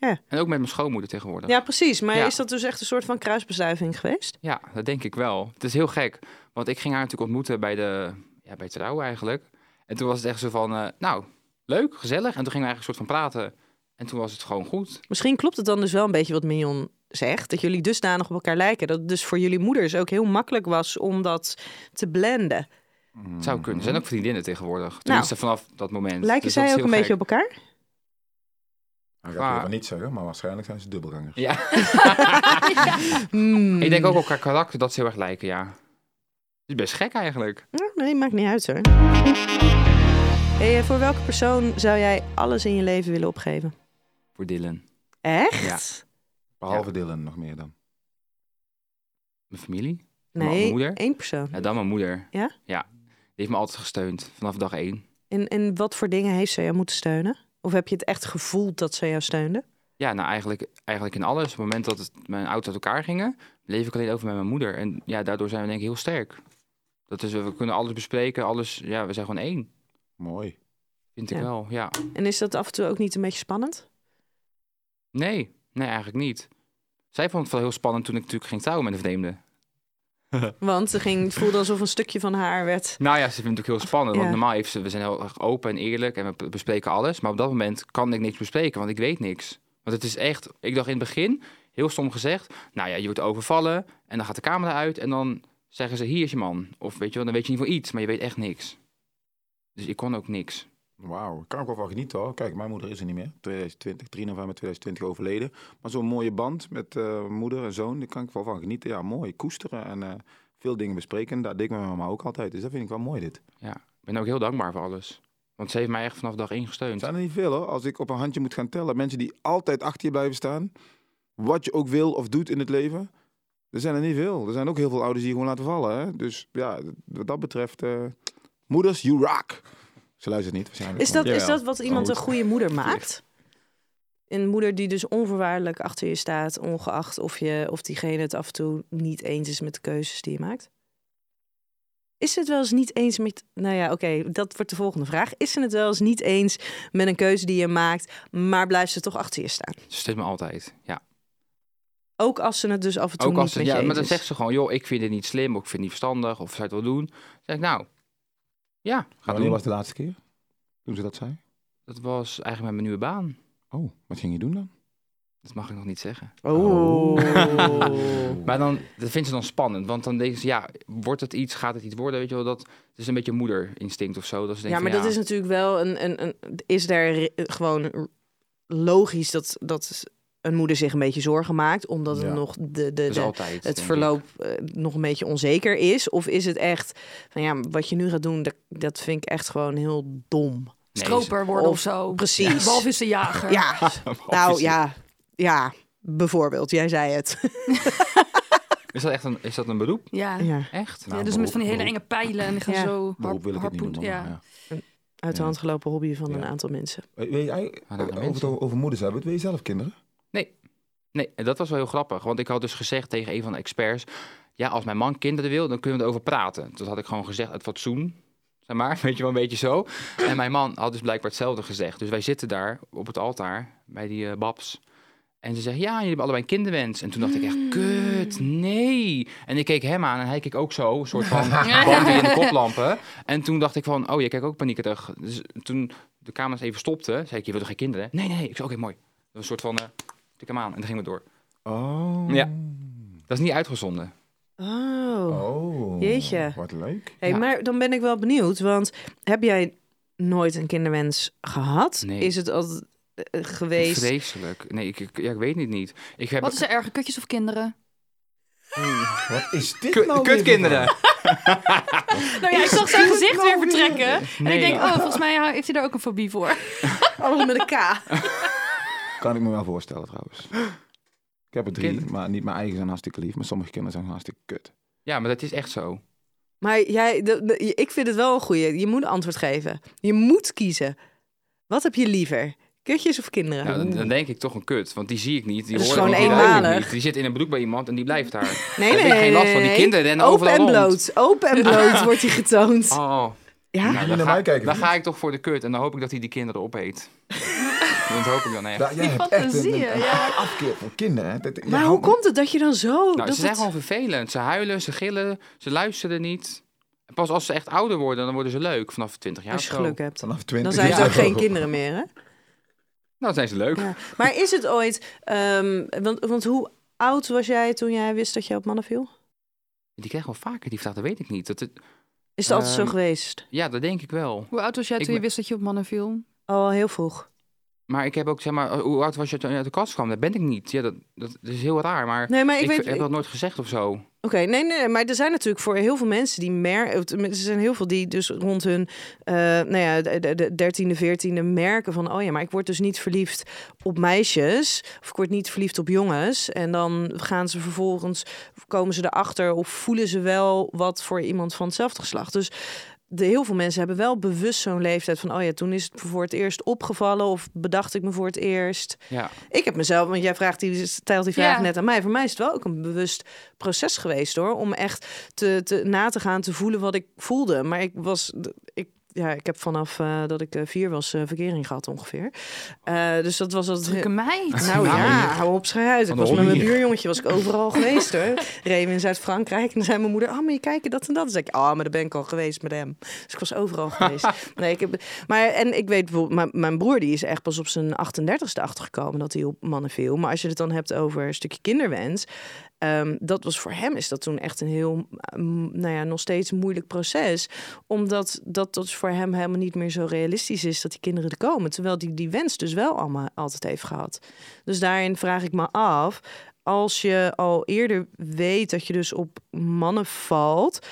F: En ook met mijn schoonmoeder tegenwoordig.
B: Ja, precies. Maar
F: Ja.
B: is dat dus echt een soort van kruisbestuiving geweest?
F: Ja, dat denk ik wel. Het is heel gek, want ik ging haar natuurlijk ontmoeten bij de ja, bij trouw eigenlijk. En toen was het echt zo van, eh, nou, leuk, gezellig. En toen gingen we eigenlijk een soort van praten. En toen was het gewoon goed.
B: Misschien klopt het dan dus wel een beetje wat Mignon zegt. Dat jullie dusdanig op elkaar lijken. Dat het dus voor jullie moeders ook heel makkelijk was om dat te
F: Dus-
B: blenden.
F: Het zou kunnen. Er zijn ook vriendinnen tegenwoordig. Tenminste, vanaf dat moment.
B: Mhm. Nou. Lijken
F: Dus dat
B: zij
F: is
B: ook een
F: heel
B: beetje
F: gek.
B: op elkaar?
E: Dat
F: Maar-
E: ga ik even niet zeggen, maar waarschijnlijk zijn ze dubbelgangers.
B: [LAUGHS]
F: Ja, [LAUGHS]
B: Hmm.
F: ik denk ook op elkaar karakter dat ze heel erg lijken, ja. Het is best gek eigenlijk.
B: Ja, Nee, maakt niet uit hoor. Hey, eh, voor welke persoon zou jij alles in je leven willen opgeven?
F: Voor Dylan.
B: Echt?
E: Behalve Dylan nog meer dan.
F: Mijn familie.
B: Nee,
F: Mijn moeder?
B: één persoon.
F: Ja, dan mijn moeder.
B: Hm. Ja?
F: Ja. Die heeft me altijd gesteund. Vanaf dag één.
B: En, en wat voor dingen heeft zij jou moeten steunen? Of heb je het echt gevoeld dat ze jou steunde?
F: Ja, nou eigenlijk, eigenlijk in alles. Op het moment dat het, mijn ouders uit elkaar gingen, bleef ik alleen over met mijn moeder. En ja, daardoor zijn we denk ik heel sterk. Dat is, we kunnen alles bespreken, alles, ja, we zijn gewoon één.
E: Mooi.
F: Vind ik
B: Ja.
F: wel, ja.
B: En is dat af en toe ook niet een beetje spannend?
F: Nee, nee, eigenlijk niet. Zij vond het wel heel spannend toen ik natuurlijk ging trouwen met een vreemde.
B: Want ze ging, het voelde alsof een stukje van haar werd.
F: Nou ja, ze vindt het ook heel spannend. Want
B: Ja.
F: normaal heeft ze, we zijn heel erg open en eerlijk en we b- bespreken alles. Maar op dat moment kan ik niks bespreken, want ik weet niks. Want het is echt, ik dacht in het begin, heel stom gezegd, nou ja, je wordt overvallen en dan gaat de camera uit en dan zeggen ze, hier is je man. Of weet je wel, dan weet je in ieder geval iets, maar je weet echt niks. Dus ik kon ook niks.
E: Wauw, ik kan ik wel van genieten hoor. Kijk, mijn moeder is er niet meer. 2020, 3 november 2020 overleden. Maar zo'n mooie band met eh, moeder en zoon, daar kan ik wel van genieten. Ja, mooi. Koesteren en eh, veel dingen bespreken. Dat deed ik met mijn mama ook altijd. Dus dat vind ik wel mooi dit.
F: Ja, ik ben ook heel dankbaar voor alles. Want ze heeft mij echt vanaf dag één
E: Het
F: gesteund.
E: zijn er niet veel hoor. Als ik op een handje moet gaan tellen. Mensen die altijd achter je blijven staan. Wat je ook wil of doet in het leven. Er zijn er niet veel. Er zijn ook heel veel ouders die je gewoon laten vallen. Hè? Dus ja, wat dat betreft. eh, moeders, you rock! Ze luistert niet waarschijnlijk.
B: Is dat, is
E: Jawel.
B: dat wat iemand
E: Goed.
B: een goede moeder maakt? Een moeder die dus onvoorwaardelijk achter je staat, ongeacht of, je, of diegene het af en toe niet eens is met de keuzes die je maakt? Is ze het wel eens niet eens met. Nou ja, oké, dat wordt de volgende vraag. Is ze het wel eens niet eens met een keuze die je maakt, maar blijft ze toch achter je staan?
F: Ze steunt me altijd, ja.
B: Ook als ze het dus af en toe
F: Ook als
B: niet
F: ze,
B: met
F: ja,
B: je eens
F: maar dan
B: is.
F: zegt ze gewoon, joh, ik vind dit niet slim, of ik vind het niet verstandig, of zou je het wel doen? Dan zeg ik, nou, ja, ga
E: Wanneer
F: doen.
E: was de laatste keer toen ze dat zei?
F: Dat was eigenlijk met mijn nieuwe baan.
E: Oh, wat ging je doen dan? Oh.
F: Dat mag ik nog niet zeggen.
B: Oh.
F: [LAUGHS] Maar dan, dat vindt ze dan spannend, want dan denken ze, ja, wordt het iets, gaat het iets worden, weet je wel, dat het is een beetje moederinstinct of zo. Dat ze
B: Ja,
F: denken
B: maar
F: van,
B: dat is natuurlijk wel een. een, een is daar re- gewoon r- logisch dat, dat een moeder zich een beetje zorgen maakt, omdat het
E: Ja.
B: nog de, de,
F: dat is
B: de-
F: altijd. denk
B: het
F: ik.
B: verloop eh, nog een beetje onzeker is? Of is het echt van ja, wat je nu gaat doen, dat, dat vind ik echt gewoon heel dom.
F: Nee,
D: Stroper worden of,
B: Of-
D: zo.
B: precies.
D: Walvissenjager.
F: [LAUGHS]
B: Ja, nou
F: is-
B: ja, ja, bijvoorbeeld, jij zei het.
F: ze- Is dat echt een, is dat een beroep?
D: Ja. ja.
B: Ja,
F: Echt?
E: Nou,
D: dus met van die hele
E: beroep-
D: enge pijlen en die gaan
B: Ja.
D: zo
E: beroep wil ik het niet
D: harpoen-
E: noemen,
D: Ja.
E: maar ja.
B: [LAUGHS] uit de hand gelopen hobby van een
E: Ja.
B: aantal mensen.
E: Weet weet je, eigenlijk-
F: Ah, nou,
E: over,
F: mensen.
E: het- over moeders hebben, weet je zelf kinderen?
F: Nee, en dat was wel heel grappig, want ik had dus gezegd tegen een van de experts, ja, als mijn man kinderen wil, dan kunnen we erover praten. Dat had ik gewoon gezegd, het fatsoen, zeg maar, [LAUGHS] weet je wel, een beetje zo. En mijn man had dus blijkbaar hetzelfde gezegd. Dus wij zitten daar op het altaar bij die eh, babs. En ze zeggen, ja, jullie hebben allebei een kinderwens. En toen dacht ik echt, kut, nee. En ik keek hem aan en hij keek ook zo, een soort van [LAUGHS] bandje in de koplampen. En toen dacht ik van, oh, je kijkt ook paniekerig. Dus toen de camera's even stopten, zei ik, je wilt toch geen kinderen? Nee, nee, ik zei, oké, mooi. Dat was een soort van, eh tik hem aan. En dan gingen we door.
E: Oh.
F: Ja. Dat is niet uitgezonden.
B: Oh,
E: Oh.
B: Jeetje.
E: Wat leuk.
B: hey,
F: ja.
B: maar dan ben ik wel benieuwd, want heb jij nooit een kinderwens gehad?
F: Nee.
B: Is het altijd eh, geweest?
F: Vreselijk. Nee, ik, ik, ja, ik weet het niet. Ik heb
D: Wat is er erger, kutjes of kinderen?
E: Wat is dit
F: Kut-
E: nou weer
F: kutkinderen.
D: Nou ja, ik zag [LAUGHS] zijn gezicht weer vertrekken. En
F: Nee.
D: ik denk, oh, volgens mij heeft hij daar ook een fobie voor.
B: Alles met een
F: [LAUGHS]
B: K.
E: voor- Kan ik me wel voorstellen trouwens. Ik heb er drie,
F: Kind-
E: maar niet mijn eigen zijn hartstikke lief. Maar sommige kinderen zijn hartstikke kut.
F: Ja, maar dat is echt zo.
B: Maar jij, de- de- ik vind het wel een goeie. Je moet een antwoord geven. Je moet kiezen. Wat heb je liever? Kutjes of kinderen?
F: Ja, Nou, dan, dan denk ik toch een kut, want die zie ik niet. Die
B: Dat is
F: hoor ik
B: gewoon
F: niet, die ruik ik
B: eenmalig.
F: niet. Die zit in een broek bij iemand en die blijft
B: [LAUGHS]
F: daar.
B: nee,
F: heb ik geen last van. Die kinderen rennen
B: Open
F: overal
B: en
F: rond.
B: bloot. Open en
F: [LAUGHS]
B: bloot wordt hij getoond.
F: Oh,
B: Ja.
F: nou,
E: naar
F: dan,
E: mij
F: ga,
E: kijken,
F: dan
E: vriend.
F: ga ik toch voor de kut en dan hoop ik dat hij die kinderen opeet. dat hoop ik dan echt.
E: Ja, jij hebt echt een,
D: fantasie,
E: een, een
D: ja.
E: afkeer voor kinderen. hè. Dat- ja,
B: Maar
E: hou-
B: hoe komt het dat je dan zo... dat
F: Nou, ze zijn
B: het-
F: gewoon vervelend. Ze huilen, ze gillen, ze luisteren niet. En pas als ze echt ouder worden, dan worden ze leuk vanaf 20 jaar.
B: Als je
F: of zo.
B: geluk hebt.
E: Vanaf 20
B: Dan zijn
E: jaar.
B: het ook geen kinderen meer, hè?
F: Nou, dan zijn ze leuk.
B: Ja. Maar is het ooit... ehm, want, want hoe oud was jij toen jij wist dat jij op mannen viel?
F: Die krijgen wel vaker die vraag, dat weet ik niet. Dat het,
B: Is het altijd zo
F: Ehm,
B: geweest?
F: ja, dat denk ik wel.
D: [LAUGHS] Hoe oud was jij
F: Ik
D: toen je
F: ben-
D: wist dat je op mannen viel?
B: Al heel vroeg.
F: Maar ik heb ook, zeg maar, hoe oud was je toen je uit de kast kwam? Dat ben ik niet. Ja, dat, dat, is heel raar, maar
B: Nee, maar ik,
F: ik,
B: weet...
F: heb dat nooit gezegd of zo.
B: Oké, nee, nee, maar er zijn natuurlijk voor heel veel mensen die mer, of tenminste, er zijn heel veel die dus rond hun, eh nou ja, de- de de dertiende, veertiende merken van, oh ja, maar ik word dus niet verliefd op meisjes of ik word niet verliefd op jongens. En dan gaan ze vervolgens, komen ze erachter of voelen ze wel wat voor iemand van hetzelfde geslacht. Dus de, heel veel mensen hebben wel bewust zo'n leeftijd van... oh ja, toen is het me voor het eerst opgevallen of bedacht ik me voor het eerst.
F: Ja.
B: Ik heb mezelf, want jij vraagt die, stelt die vraag
D: Ja.
B: net aan mij. Voor mij is het wel ook een bewust proces geweest hoor. Om echt te, te, na te gaan, te voelen wat ik voelde. Maar ik was. Ik, ja, ik heb vanaf eh, dat ik eh, vier was eh, verkering gehad ongeveer. Eh, dus dat was altijd.
D: Drukke meid.
B: Nou
F: Nou,
B: ja,
F: hier.
B: hou op schuit. Ik
F: Van de
B: was met mijn
F: hobby.
B: buurjongetje was ik
F: [LAUGHS]
B: overal geweest hoor. Reden we in Zuid-Frankrijk en dan zei mijn moeder: "Ah, maar je kijken dat en dat." Dan zei ik: "Ah, maar daar ben ik al geweest met hem." Dus ik was overal
F: [LAUGHS]
B: geweest. Nee, ik heb, maar en ik weet bijvoorbeeld, mijn, mijn broer die is echt pas op zijn 38ste achtergekomen dat hij op mannen viel. Maar als je het dan hebt over een stukje kinderwens, ehm, dat was voor hem is dat toen echt een heel, mm, nou ja, nog steeds moeilijk proces, omdat dat dus voor hem helemaal niet meer zo realistisch is dat die kinderen er komen, terwijl die die wens dus wel allemaal altijd heeft gehad. Dus daarin vraag ik me af. Als je al eerder weet dat je dus op mannen valt,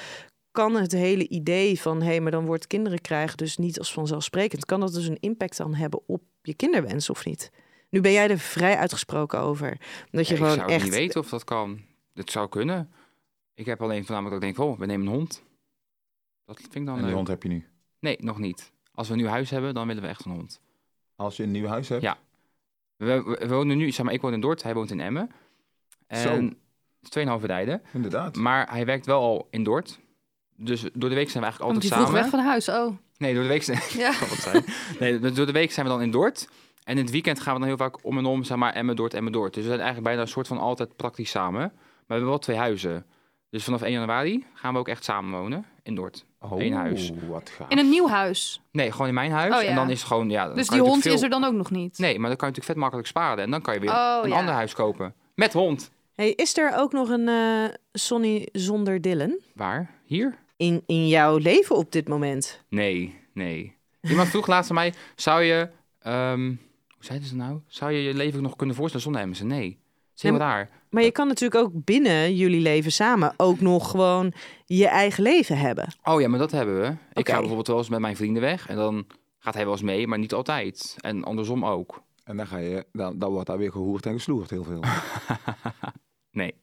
B: kan het hele idee van hé, maar dan wordt kinderen krijgen dus niet als vanzelfsprekend. Kan dat dus een impact dan hebben op je kinderwens of niet? Nu ben jij er vrij uitgesproken over. Dat je
F: ik
B: gewoon
F: zou
B: echt.
F: niet weten of dat kan. Het zou kunnen. Ik heb alleen voornamelijk dat ik denk, oh, we nemen een hond. Dat vind ik
E: En
F: dan
E: die
F: leuk.
E: hond heb je nu.
F: Nee, nog niet. Als we een nieuw huis hebben, dan willen we echt een hond.
E: Als je een nieuw huis hebt.
F: Ja. We, we wonen nu, zeg maar, ik woon in Dordt, hij woont in Emmen.
E: Zo.
F: En het is 2,5 dijden.
E: Inderdaad.
F: Maar hij werkt wel al in Dordt. Dus door de week zijn we eigenlijk
D: Komt
F: altijd
D: hij
F: samen.
D: vroeg weg van huis? Oh.
F: Nee, door de week zijn,
D: Ja.
F: [LAUGHS] Kan wat zijn. Nee, door de week zijn we dan in Dordt. En in het weekend gaan we dan heel vaak om en om, zeg maar, Emmen, Dordt, Emmen, Dordt. Dus we zijn eigenlijk bijna een soort van altijd praktisch samen. Maar we hebben wel twee huizen. Dus vanaf 1 januari gaan we ook echt samen wonen in Dordt.
E: Oh,
F: één huis.
E: Wat gaaf.
D: In een nieuw huis.
F: Nee, gewoon in mijn huis.
D: Oh, ja.
F: En dan is het gewoon, ja... dan
D: Dus
F: kan
D: die
F: je natuurlijk
D: hond
F: veel-
D: is er dan ook nog niet.
F: Nee, maar dan kan je natuurlijk vet makkelijk sparen. En dan kan je weer
D: Oh,
F: een
D: ja.
F: ander huis kopen. Met hond.
B: Hey, is er ook nog een eh Sonny zonder Dylan
F: Waar? Hier?
B: in, in jouw leven op dit moment?
F: Nee, nee. Iemand vroeg laatst aan mij, zou je... ehm, hoe zeiden ze nou? Zou je je leven nog kunnen voorstellen zonder hem? Ik zei, Nee. Dat is heel
B: Nee,
F: raar.
B: Maar je kan natuurlijk ook binnen jullie leven samen ook nog gewoon je eigen leven hebben.
F: Oh ja, maar dat hebben we. Ik
B: Oké.
F: ga bijvoorbeeld wel eens met mijn vrienden weg. En dan gaat hij wel eens mee, maar niet altijd. En andersom ook.
E: En dan, ga je, dan, dan wordt daar weer gehoerd en gesloerd heel
F: [LAUGHS]
E: veel.
F: Nee.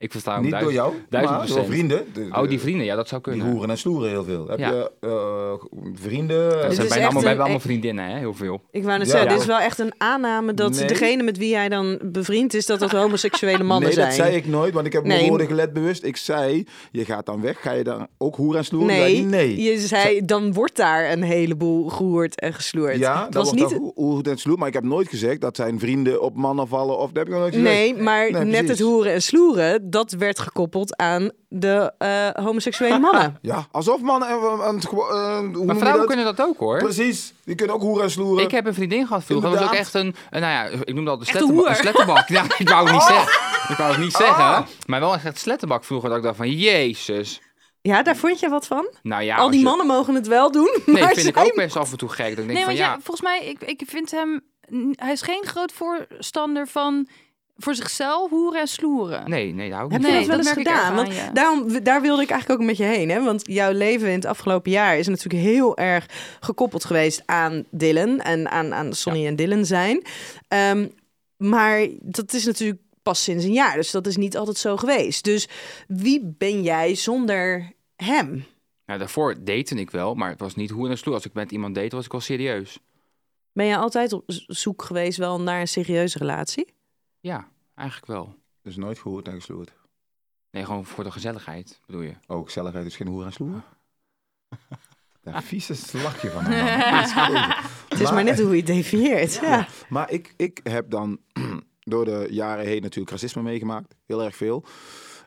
F: Ik versta hem
E: Niet
F: duizend-
E: door jou,
F: duizend
E: maar door
F: procent.
E: vrienden. De- de-
F: Oh, die vrienden. Ja, dat zou
E: die
F: kunnen.
E: hoeren en sloeren heel veel. Heb
F: Ja.
E: je eh, vrienden?
B: Dit
F: Dat zijn
B: is echt
F: bijna allemaal,
B: een-
F: bij allemaal
B: ik-
F: vriendinnen, hè? Heel veel.
B: Ik wou net
E: Ja. nou.
B: zeggen, dit is wel echt een aanname dat
E: Nee.
B: degene met wie jij dan bevriend is, dat dat homoseksuele mannen
E: nee,
B: zijn.
E: dat zei ik nooit, want ik heb
B: Nee.
E: mijn woorden gelet bewust. Ik zei, je gaat dan weg, ga je dan ook hoeren en sloeren? Zei
B: Nee,
E: hij, nee.
B: je zei, dan wordt daar een heleboel gehoerd en gesloerd.
E: ja,
B: het
E: dat
B: was
E: was
B: niet...
E: niet... hoeren en sloeren, maar ik heb nooit gezegd dat zijn vrienden op mannen vallen. Of, dat heb ik nog nooit gezegd.
B: Nee, maar
E: Nee,
B: net
E: precies.
B: het hoeren en sloeren, dat werd gekoppeld aan de eh, homoseksuele
E: [LAUGHS]
B: mannen.
E: Ja, alsof mannen... En, en, en- gewoon, eh, hoe noem
F: Maar
E: je
F: vrouwen
E: dat?
F: kunnen dat ook, hoor.
E: Precies, die kunnen ook hoeren en sloeren.
F: Ik heb een vriendin gehad vroeger. Dat was ook echt
E: Inderdaad.
F: een, een, nou ja, ik noemde dat de
D: een
F: slettenbak.
D: hoer.
F: Een slettenbak. Ja, ik wou het
B: Oh.
F: niet zeggen. Ik wou het niet zeggen. Maar wel echt een slettenbak vroeger. Dat ik dacht van, jezus.
B: Ja, daar vond je wat van?
F: Nou ja,
B: Al
F: als
B: die
F: je-
B: mannen mogen het wel doen, [LAUGHS]
F: Nee,
B: maar
F: vind ik
B: zij-
F: ook best af en toe gek. Dat ik denk
D: Nee,
F: van,
D: want
F: ja,
D: ja, volgens mij, ik, ik vind hem... Hij is geen groot voorstander van voor zichzelf hoeren en sloeren.
F: nee, nee, daar hou ik
B: Heb
F: niet
B: je
F: van.
B: dat wel eens
D: dat merk ik
B: gedaan?
D: erg aan
B: Want
D: je.
B: daarom, w- daar wilde ik eigenlijk ook met je heen. Hè? Want jouw leven in het afgelopen jaar is natuurlijk heel erg gekoppeld geweest aan Dylan en aan, aan Sonny en Dylan zijn. Ehm, maar dat is natuurlijk pas sinds een jaar. Dus dat is niet altijd zo geweest. Dus wie ben jij zonder hem?
F: Nou, daarvoor daten ik wel, maar het was niet hoe en sloer. Als ik met iemand date, was ik wel serieus.
B: Ben je altijd op z- zoek geweest wel naar een serieuze relatie?
F: Ja, eigenlijk wel.
E: Dus nooit gehoord en gesloerd.
F: Nee, gewoon voor de gezelligheid, bedoel je.
E: Oh, gezelligheid is geen hoeren en sloeren?
B: Ah.
E: Daar vieze
B: [LAUGHS]
E: slakje van. een man. Dat is goed.
B: Het is maar net hoe je het definieert. Ja.
E: Maar ik, ik heb dan [CLEARS THROAT] door de jaren heen natuurlijk racisme meegemaakt. Heel erg veel.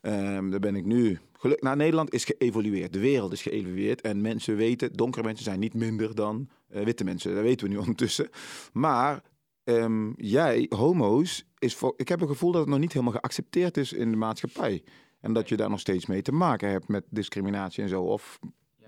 E: Ehm daar ben ik nu... Gelukkig, nou, Nederland is geëvolueerd. De wereld is geëvolueerd. En mensen weten, donkere mensen zijn niet minder dan eh, witte mensen. Dat weten we nu [LAUGHS] ondertussen. Maar ehm, jij, homo's, is voor, ik heb het gevoel dat het nog niet helemaal geaccepteerd is in de maatschappij. En dat je daar nog steeds mee te maken hebt met discriminatie en zo. Of,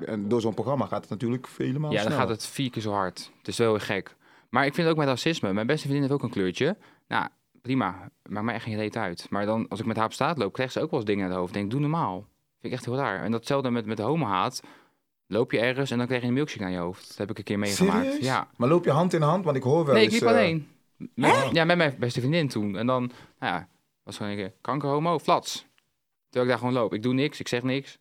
E: en door zo'n programma gaat het natuurlijk vele malen
F: ja, dan
E: sneller.
F: gaat het vier keer zo hard. Het is wel heel gek. Maar ik vind het ook met racisme. Mijn beste vriendin heeft ook een kleurtje. Nou, prima. Maakt mij echt geen reet uit. Maar dan, als ik met haar op straat loop, krijgt ze ook wel eens dingen aan het hoofd. Ik Denk, doe normaal. Vind ik echt heel raar. En datzelfde met, met de homohaat. Loop je ergens en dan krijg je een milkshake aan je hoofd. Dat heb ik een keer meegemaakt.
E: Serieus?
F: Ja.
E: Maar loop je hand in hand, want ik hoor wel
F: Nee, ik
E: eens...
F: liep
E: eh,
F: alleen. Met- ja, met mijn beste vriendin toen. En dan, nou ja, was gewoon een keer kankerhomo, flats. Terwijl ik daar gewoon loop. Ik doe niks, ik zeg niks.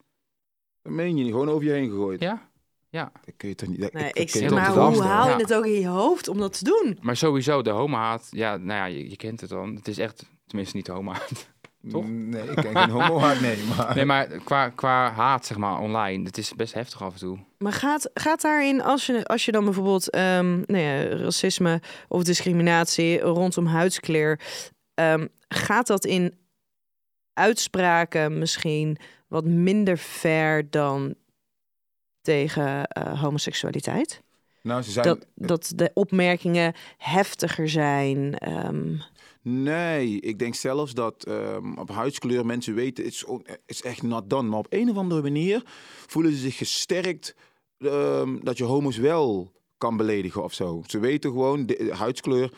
E: Dat meen je niet, gewoon over je heen gegooid.
F: Ja? Ja.
E: Dat kun je toch niet... dat-
B: Nee,
E: dat
B: ik
E: kun je
B: zeg
E: toch
F: het
B: maar,
E: niet
F: op de
B: hoe
F: afstand.
E: afstellen?
B: haal je
F: Ja.
B: het ook in je hoofd om dat te doen?
F: Maar sowieso, de homohaat, ja, nou ja, je, je kent het dan. Het is echt, tenminste niet de homohaat. toch?
E: Mm, Nee, ik ken geen homo nee, maar...
F: Nee, maar qua, qua haat, zeg maar, online, het is best heftig af en toe.
B: Maar gaat, gaat daarin, als je, als je dan bijvoorbeeld ehm, nou ja, racisme of discriminatie rondom huidskleur, ehm, gaat dat in uitspraken misschien wat minder ver dan tegen eh, homoseksualiteit?
E: Nou, ze zijn...
B: Dat, dat de opmerkingen heftiger zijn. ehm,
E: Nee, ik denk zelfs dat ehm, op huidskleur mensen weten, het is, on- het is echt nat dan. Maar op een of andere manier voelen ze zich gesterkt ehm, dat je homo's wel kan beledigen of zo. Ze weten gewoon, de, de huidskleur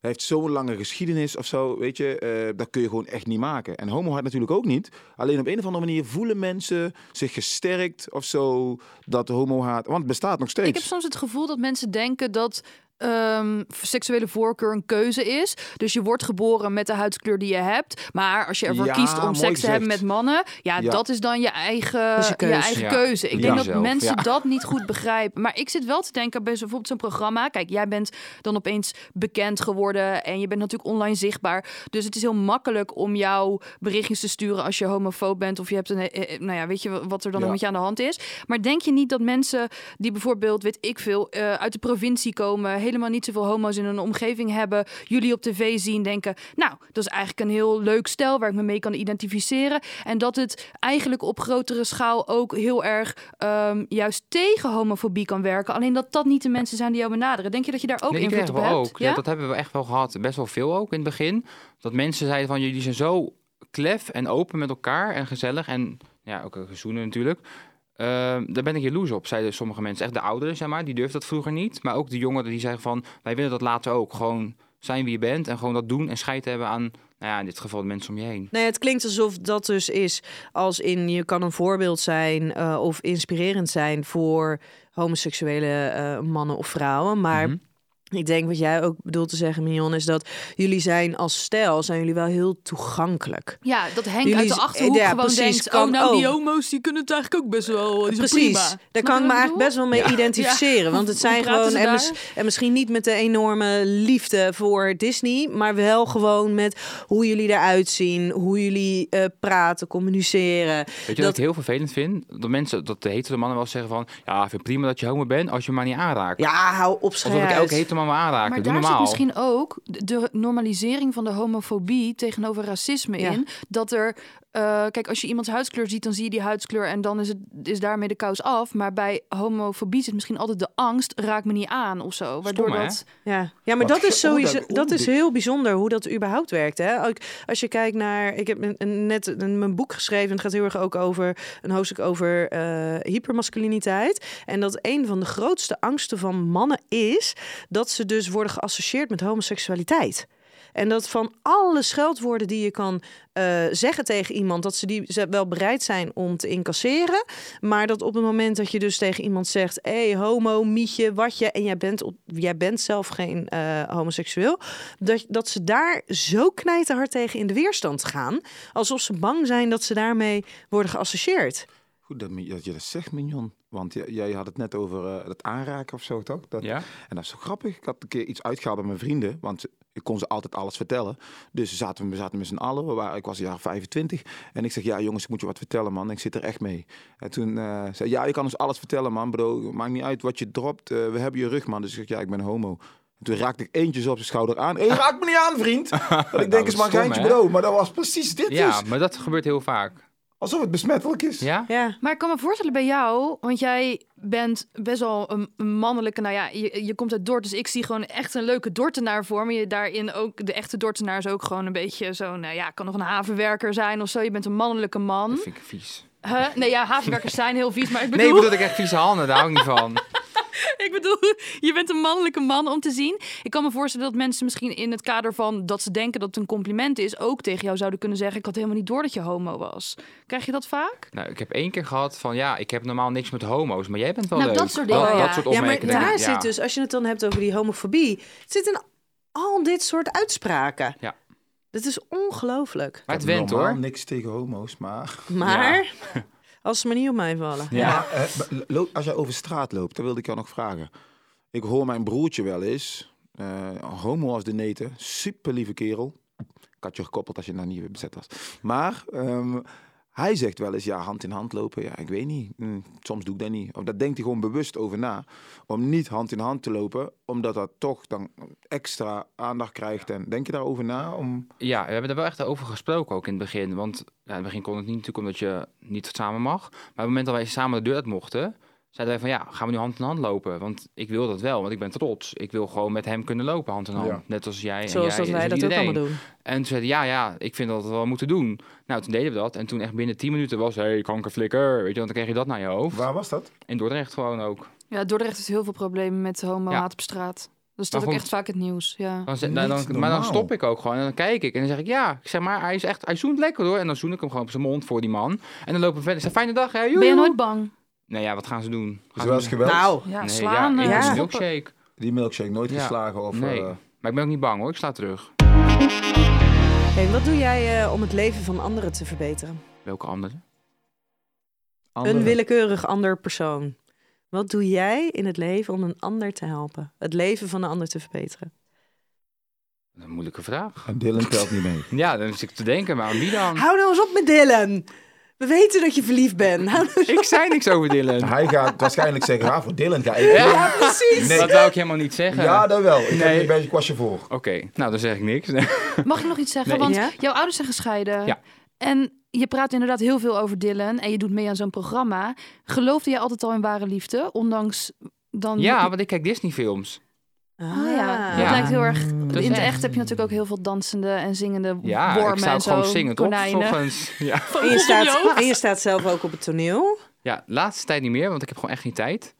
E: heeft zo'n lange geschiedenis of zo, weet je, eh, dat kun je gewoon echt niet maken. En homo had natuurlijk ook niet. Alleen op een of andere manier voelen mensen zich gesterkt of zo dat homo haat, want het bestaat nog steeds.
D: Ik heb soms het gevoel dat mensen denken dat ehm, seksuele voorkeur een keuze is. Dus je wordt geboren met de huidskleur die je hebt. Maar als je ervoor
E: Ja,
D: kiest om
E: mooi
D: seks te hebben met
E: gezegd.
D: mannen, ja,
E: Ja.
D: dat is dan je eigen,
B: Is je keuze.
D: Je eigen
F: Ja.
D: keuze. Ik
F: Ja.
D: denk dat
F: Jezelf,
D: mensen
E: ja.
D: dat niet goed begrijpen. Maar ik zit wel te denken bij zo- bijvoorbeeld zo'n programma. Kijk, jij bent dan opeens bekend geworden en je bent natuurlijk online zichtbaar. Dus het is heel makkelijk om jouw berichtjes te sturen als je homofoob bent of je hebt een, eh, eh, nou ja, weet je wat er dan
E: Ja.
D: met je aan de hand is. Maar denk je niet dat mensen die bijvoorbeeld, weet ik veel, eh, uit de provincie komen, helemaal niet zoveel homo's in hun omgeving hebben, jullie op tv zien, denken, nou, dat is eigenlijk een heel leuk stel waar ik me mee kan identificeren. En dat het eigenlijk op grotere schaal ook heel erg ehm, juist tegen homofobie kan werken. Alleen dat dat niet de mensen zijn die jou benaderen. Denk je dat je daar ook
F: nee, die
D: invloed op
F: krijgen we
D: hebt?
F: ook. Ja? dat hebben we echt wel gehad. Best wel veel ook in het begin. Dat mensen zeiden van, jullie zijn zo klef en open met elkaar en gezellig. En ja, ook eh, gezoenen natuurlijk. Ehm, daar ben ik jaloers op, zeiden sommige mensen. Echt de ouderen, zeg maar, die durfden dat vroeger niet. Maar ook de jongeren die zeiden van, wij willen dat later ook. Gewoon zijn wie je bent en gewoon dat doen en scheid hebben aan, nou ja, in dit geval de mensen om je heen.
B: Nee, het klinkt alsof dat dus is als in je kan een voorbeeld zijn eh, of inspirerend zijn voor homoseksuele eh, mannen of vrouwen. Maar
F: Mhm.
B: ik denk wat jij ook bedoelt te zeggen, Mignon, is dat jullie zijn als stijl, zijn jullie wel heel toegankelijk.
D: Ja, dat Henk
B: Jullie
D: uit de
B: z-
D: achterhoek
B: ja,
D: gewoon
B: precies,
D: denkt:
B: kan
D: oh, nou, die
B: ook.
D: homo's die kunnen het eigenlijk ook best wel. Oh, Die zijn
B: Precies,
D: prima.
B: daar
D: Snap
B: kan ik
D: je
B: me
D: wat
B: eigenlijk best wel mee identificeren. Want het
D: Hoe
B: zijn
D: praten
B: gewoon,
D: ze
B: en,
D: daar?
B: mis- en misschien niet met de enorme liefde voor Disney, maar wel gewoon met hoe jullie eruit zien, hoe jullie eh, praten, communiceren.
F: Weet je
B: Dat-
F: dat, ik heel vervelend vind? Dat mensen, dat de hetero mannen wel zeggen van... Ja, ik vind het prima dat je homo bent als je me maar niet aanraakt.
B: Ja, hou op,
F: Alsof ik
B: schei uit.
F: elke hetero man wil aanraken.
D: Maar
F: Doe
D: daar zit
F: normaal.
D: misschien ook de- de normalisering van de homofobie tegenover racisme
B: Ja.
D: in. Dat er, eh, kijk, als je iemands huidskleur ziet, dan zie je die huidskleur en dan is, het, is daarmee de kous af. Maar bij homofobie zit misschien altijd de angst, raak me niet aan of zo. Waardoor
F: Stom, hè?
D: dat...
B: Ja, ja maar
E: Wat
B: dat is
E: ge- oh,
B: sowieso
E: dat- oh,
B: dat is
E: dit-
B: heel bijzonder hoe dat überhaupt werkt. Hè? Ook als je kijkt naar, ik heb een- een- net een, mijn boek geschreven. Het gaat heel erg ook over een hoofdstuk over eh, hypermasculiniteit. En dat een van de grootste angsten van mannen is dat ze dus worden geassocieerd met homoseksualiteit. En dat van alle scheldwoorden die je kan eh, zeggen tegen iemand, dat ze die ze- wel bereid zijn om te incasseren. Maar dat op het moment dat je dus tegen iemand zegt: hé, hey, homo, mietje, watje. en jij bent, op, jij bent zelf geen eh, homoseksueel. Dat, dat ze daar zo knijterhard tegen in de weerstand gaan. alsof ze bang zijn dat ze daarmee worden geassocieerd.
E: Goed dat, mi- dat je dat zegt, Mignon. Want j- jij had het net over eh, dat aanraken of zo, toch? Dat,
F: Ja?
E: En dat is zo grappig. Ik had een keer iets uitgehaald met mijn vrienden, want ze- ik kon ze altijd alles vertellen. Dus zaten we, we zaten met z'n allen, we waren, ik was een jaar 25. En ik zeg, ja jongens, ik moet je wat vertellen, man. Ik zit er echt mee. En toen eh, zei ja, je kan ons alles vertellen, man, bro. Maakt niet uit wat je dropt. eh, we hebben je rug, man. Dus ik zeg, ja, ik ben homo. En toen raakte ik eentje zo op zijn schouder aan.
F: [LAUGHS]
E: Hé, raak me niet aan, vriend! Dat ik denk,
F: dat
E: eens
F: is
E: maar een
F: stom,
E: geintje,
F: hè?
E: bro. Maar dat was precies dit
F: Ja,
E: dus.
F: maar dat gebeurt heel vaak.
E: Alsof het besmettelijk is.
F: Ja?
B: Ja.
D: Maar ik kan me voorstellen bij jou, want jij bent best wel een, een mannelijke. Nou ja, je, je komt uit Dort, dus ik zie gewoon echt een leuke Dortenaar voor me. Je daarin ook, de echte Dortenaar is ook gewoon een beetje zo'n, nou ja, kan nog een havenwerker zijn of zo. Je bent een mannelijke man.
F: Dat vind ik vies.
D: Huh? Nee, ja, havenwerkers zijn heel vies, maar ik bedoel,
F: Nee, ik bedoel, ik echt vieze handen, daar hou ik niet van. [LAUGHS]
D: [LAUGHS] ik bedoel, je bent een mannelijke man om te zien. Ik kan me voorstellen dat mensen misschien in het kader van dat ze denken dat het een compliment is, ook tegen jou zouden kunnen zeggen: Ik had helemaal niet door dat je homo was. Krijg je dat vaak?
F: Nou, ik heb één keer gehad van, ja, ik heb normaal niks met homo's, maar jij bent wel
D: Nou,
F: leuk.
D: dat soort dingen,
F: Dat,
D: ja.
F: soort
B: ja, maar
F: opmerkingen.
B: daar
F: ja.
B: zit dus, als je het dan hebt over die homofobie, het zit in al dit soort uitspraken.
F: Ja.
B: Dit is ongelooflijk.
F: Maar het went, hoor.
E: niks tegen homo's, maar...
B: Maar [LAUGHS] Als ze maar niet op mij vallen.
F: Ja.
E: Maar, eh, b- lo- als jij over straat loopt, dat wilde ik jou nog vragen. Ik hoor mijn broertje wel eens, eh, homo als de neten, super lieve kerel. Ik had je gekoppeld als je nou niet bezet was. Maar ehm, hij zegt wel eens, ja, hand in hand lopen, ja, ik weet niet. Hm, soms doe ik dat niet. Of dat denkt hij gewoon bewust over na. Om niet hand in hand te lopen, omdat dat toch dan extra aandacht krijgt. En denk je daarover na? Om...
F: Ja, we hebben daar wel echt over gesproken ook in het begin. Want ja, in het begin kon het niet natuurlijk omdat je niet samen mag. Maar op het moment dat wij samen de deur uit mochten, zeiden wij van ja, gaan we nu hand in hand lopen? Want ik wil dat wel, want ik ben trots. Ik wil gewoon met hem kunnen lopen hand in hand.
E: Ja.
F: Net als jij
B: Zoals
F: en
B: dat
F: jij.
B: wij
F: en
B: dat ook
F: iedereen.
B: allemaal doen.
F: En toen zeiden ja, ja, ik vind dat we wel moeten doen. Nou, toen deden we dat. En toen echt binnen 10 minuten was, hé, hey, kankerflikker. Weet je, want dan kreeg je dat naar je hoofd.
E: Waar was dat?
F: In Dordrecht gewoon ook.
D: Ja, Dordrecht heeft heel veel problemen met homo haat op straat. Dus
F: Maar
D: dat ook
F: goed.
D: echt vaak het nieuws. Ja.
F: Dan, ze-
E: Niet
F: dan, dan- maar dan
E: normaal.
F: stop ik ook gewoon en dan kijk ik en dan zeg ik ja. Ik zeg maar, hij is echt, hij zoent lekker hoor. En dan zoen ik hem gewoon op zijn mond voor die man. En dan lopen we verder. Ik zeg, fijne dag, hè, joe,
D: Ben je
F: joe.
D: nooit bang?
F: Nee, ja, wat gaan ze doen? Gaan ze
E: Zoals
F: doen?
E: geweld.
B: Nou,
D: Ja,
F: Nee,
D: slaan.
F: Ja,
D: eh,
F: ik doe een
D: schoppen.
F: milkshake.
E: Die milkshake nooit
F: Ja.
E: geslagen of...
F: Nee.
E: eh,
F: Maar ik ben ook niet bang hoor, ik sla terug.
B: hey, wat doe jij eh, om het leven van anderen te verbeteren?
F: Welke andere?
E: andere-
B: Een willekeurig ander persoon. Wat doe jij in het leven om een ander te helpen? Het leven van een ander te verbeteren.
F: Dat is Een moeilijke vraag.
E: En Ah, Dylan telt niet mee.
F: Ja, dan zit ik te denken, maar aan wie dan?
B: Hou nou eens op met Dylan. We weten dat je verliefd bent. Hou nou eens [LAUGHS]
F: Ik zei niks over Dylan.
E: Hij gaat waarschijnlijk zeggen, ah, voor Dylan ga ik.
F: Ja,
B: precies.
F: Dat wou ik helemaal niet zeggen.
E: Ja, dat wel. Ik heb
F: Nee.
E: heb bij je kwastje voor.
F: Oké, nou dan zeg ik niks.
D: Mag ik nog iets zeggen?
F: Nee.
D: Want
B: Ja?
D: jouw ouders zijn gescheiden.
F: Ja.
D: En je praat inderdaad heel veel over Dylan en je doet mee aan zo'n programma. Geloofde jij altijd al in ware liefde? Ondanks dan.
F: Ja, want ik kijk Disney-films.
D: Ah, ja. Dat
F: Ja.
D: lijkt heel erg.
F: is
D: in het
F: echt.
D: echt heb je natuurlijk ook heel veel dansende en zingende
F: Ja,
D: wormen
F: ik sta
D: en
F: ook
D: zo.
F: gewoon zingend op
D: konijnen.
F: volgens. Ja.
B: En je, staat, en je staat zelf ook op het toneel.
F: ja, laatste tijd niet meer, want ik heb gewoon echt geen tijd.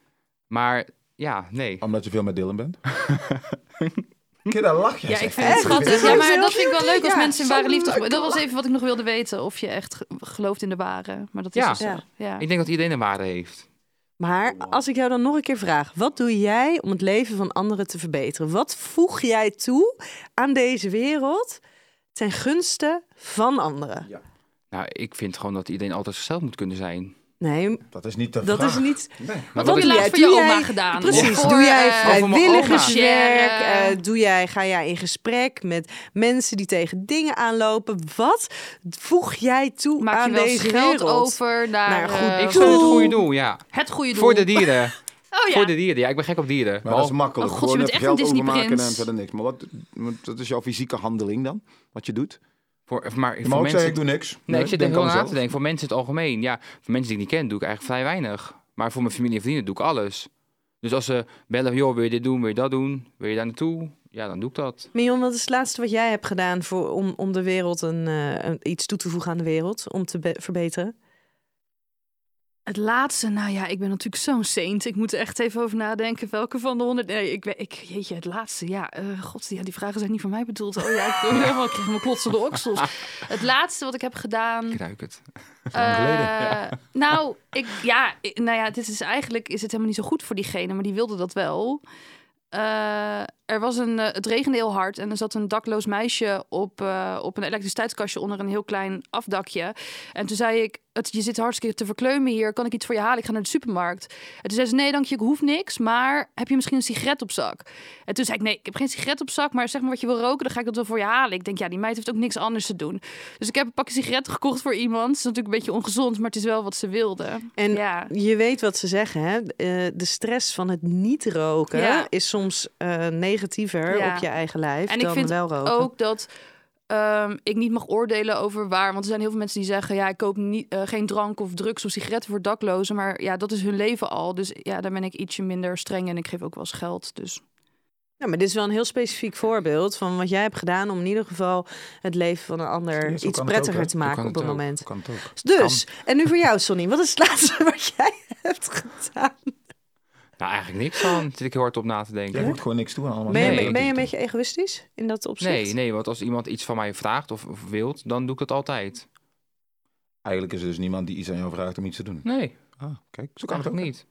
F: Maar ja, nee.
E: Omdat je veel met Dylan bent. Kijk, daar lach je.
D: Ja, ik vind het schattig.
B: Echt?
D: Ja, maar
B: Heel
D: dat vind ik wel leuk als
B: Ja,
D: mensen in
B: zo
D: ware liefde.
B: leuk.
D: geloven. Dat was even wat ik nog wilde weten. Of je echt ge- gelooft in de ware. Maar dat is
F: Ja.
D: dus zo.
B: Ja.
D: Ja.
F: Ik denk dat iedereen een waarde heeft.
B: Maar als ik jou dan nog een keer vraag, wat doe jij om het leven van anderen te verbeteren? Wat voeg jij toe aan deze wereld ten gunste van anderen?
F: Nou, ik vind gewoon dat iedereen altijd zichzelf moet kunnen zijn.
B: Nee,
E: Dat is niet te
B: dat is niet.
D: Wat
F: wat
D: heb je
B: doe
D: laatst voor
B: Doe
D: je
B: jij-
D: oma gedaan?
B: Precies.
D: Of voor,
B: doe jij
D: eh,
F: voor mijn
B: vrijwilligerswerk?
D: oma. Share.
B: Eh, doe jij, ga jij in gesprek met mensen die tegen dingen aanlopen? Wat voeg jij toe
D: Maak
B: aan
D: je wel
B: deze
D: geld
B: wereld?
D: over naar,
B: Naar goed-
D: eh,
F: Ik zou het
B: Doel.
F: goede doel, ja.
D: het goede doel.
F: Voor de dieren.
D: [LAUGHS] Oh ja.
F: Voor de dieren. Ja, ik ben gek op dieren.
E: Maar dat is
F: Behalve-
E: makkelijk.
D: Oh god, je
E: Gewoon
D: bent
E: even
D: echt een
E: geld overmaken
D: Disney-prins.
E: en verder niks. Maar wat, wat- dat is jouw fysieke handeling dan? Wat je doet?
F: voor, maar
E: Je
F: voor
E: mag ook
F: mensen...
E: zeggen, ik doe niks.
F: Nee, ik zit er
E: denk
F: heel
E: aan
F: na
E: mezelf.
F: te denken. Voor mensen in het algemeen. Ja, voor mensen die ik niet ken, doe ik eigenlijk vrij weinig. Maar voor mijn familie en vrienden doe ik alles. Dus als ze bellen, joh, wil je dit doen, wil je dat doen? Wil je daar naartoe? Ja, dan doe ik dat.
B: Mion, wat is het laatste wat jij hebt gedaan voor, om, om de wereld een, eh, een- iets toe te voegen aan de wereld? Om te be- verbeteren?
D: Het laatste, nou ja, ik ben natuurlijk zo'n saint. Ik moet er echt even over nadenken welke van de honderd... Nee, ik, weet- ik, jeetje, het laatste, ja. eh, god, ja, die vragen zijn niet voor mij bedoeld. Oh ja, ik, oh, ik krijg mijn klotsende oksels. Het laatste wat ik heb gedaan...
F: Ik ruik het.
E: lang geleden.
D: Eh, Nou, ik, ja, ik- nou ja, dit is eigenlijk is het helemaal niet zo goed voor diegene, maar die wilde dat wel. Eh, er was een, eh, het regende heel hard en er zat een dakloos meisje op, eh, op een elektriciteitskastje onder een heel klein afdakje. En toen zei ik, het, je zit hartstikke te verkleumen hier, kan ik iets voor je halen? Ik ga naar de supermarkt. En toen zei ze, nee dank je, ik hoef niks, maar heb je misschien een sigaret op zak? En toen zei ik, nee, ik heb geen sigaret op zak, maar zeg maar wat je wil roken, dan ga ik dat wel voor je halen. Ik denk, ja, die meid heeft ook niks anders te doen. Dus ik heb een pakje sigaretten gekocht voor iemand. Het is natuurlijk een beetje ongezond, maar het is wel wat ze wilde.
B: En
D: ja.
B: je weet wat ze zeggen, hè? Eh, de stress van het niet roken
D: Ja.
B: is soms eh, negatiever
D: Ja.
B: op je eigen lijf
D: En ik
B: dan
D: vind
B: wel roken.
D: Ook dat ehm, ik niet mag oordelen over waar. Want er zijn heel veel mensen die zeggen: ja, ik koop niet, eh, geen drank of drugs of sigaretten voor daklozen. Maar ja, dat is hun leven al. Dus ja, daar ben ik ietsje minder streng en ik geef ook wel eens geld. Dus
B: Ja, Nou, maar dit is wel een heel specifiek voorbeeld van wat jij hebt gedaan om in ieder geval het leven van een ander
E: Ja, zo
B: iets
E: kan het
B: prettiger
E: ook, hè.
B: te
F: Zo
B: maken
F: kan
B: op
F: het
B: dat
F: ook.
B: moment.
E: Kan het ook.
B: Dus, en nu voor jou, Sonny. Wat is het [LAUGHS] laatste wat jij hebt gedaan?
F: Nou, eigenlijk niks van. Daar zit ik heel hard op na te denken.
E: Jij moet gewoon niks doen allemaal.
B: Ben je,
F: Oh, Nee,
B: ben je
F: dat doe
B: een
F: ik
B: beetje egoïstisch in dat opzicht?
F: Nee, nee, want als iemand iets van mij vraagt of, of wilt, dan doe ik dat altijd.
E: Eigenlijk is er dus niemand die iets aan jou vraagt om iets te doen.
F: Nee,
E: Ah, kijk, zo kan
F: dat kan
E: het
F: ik
E: ook
F: ook
E: niet.
F: niet.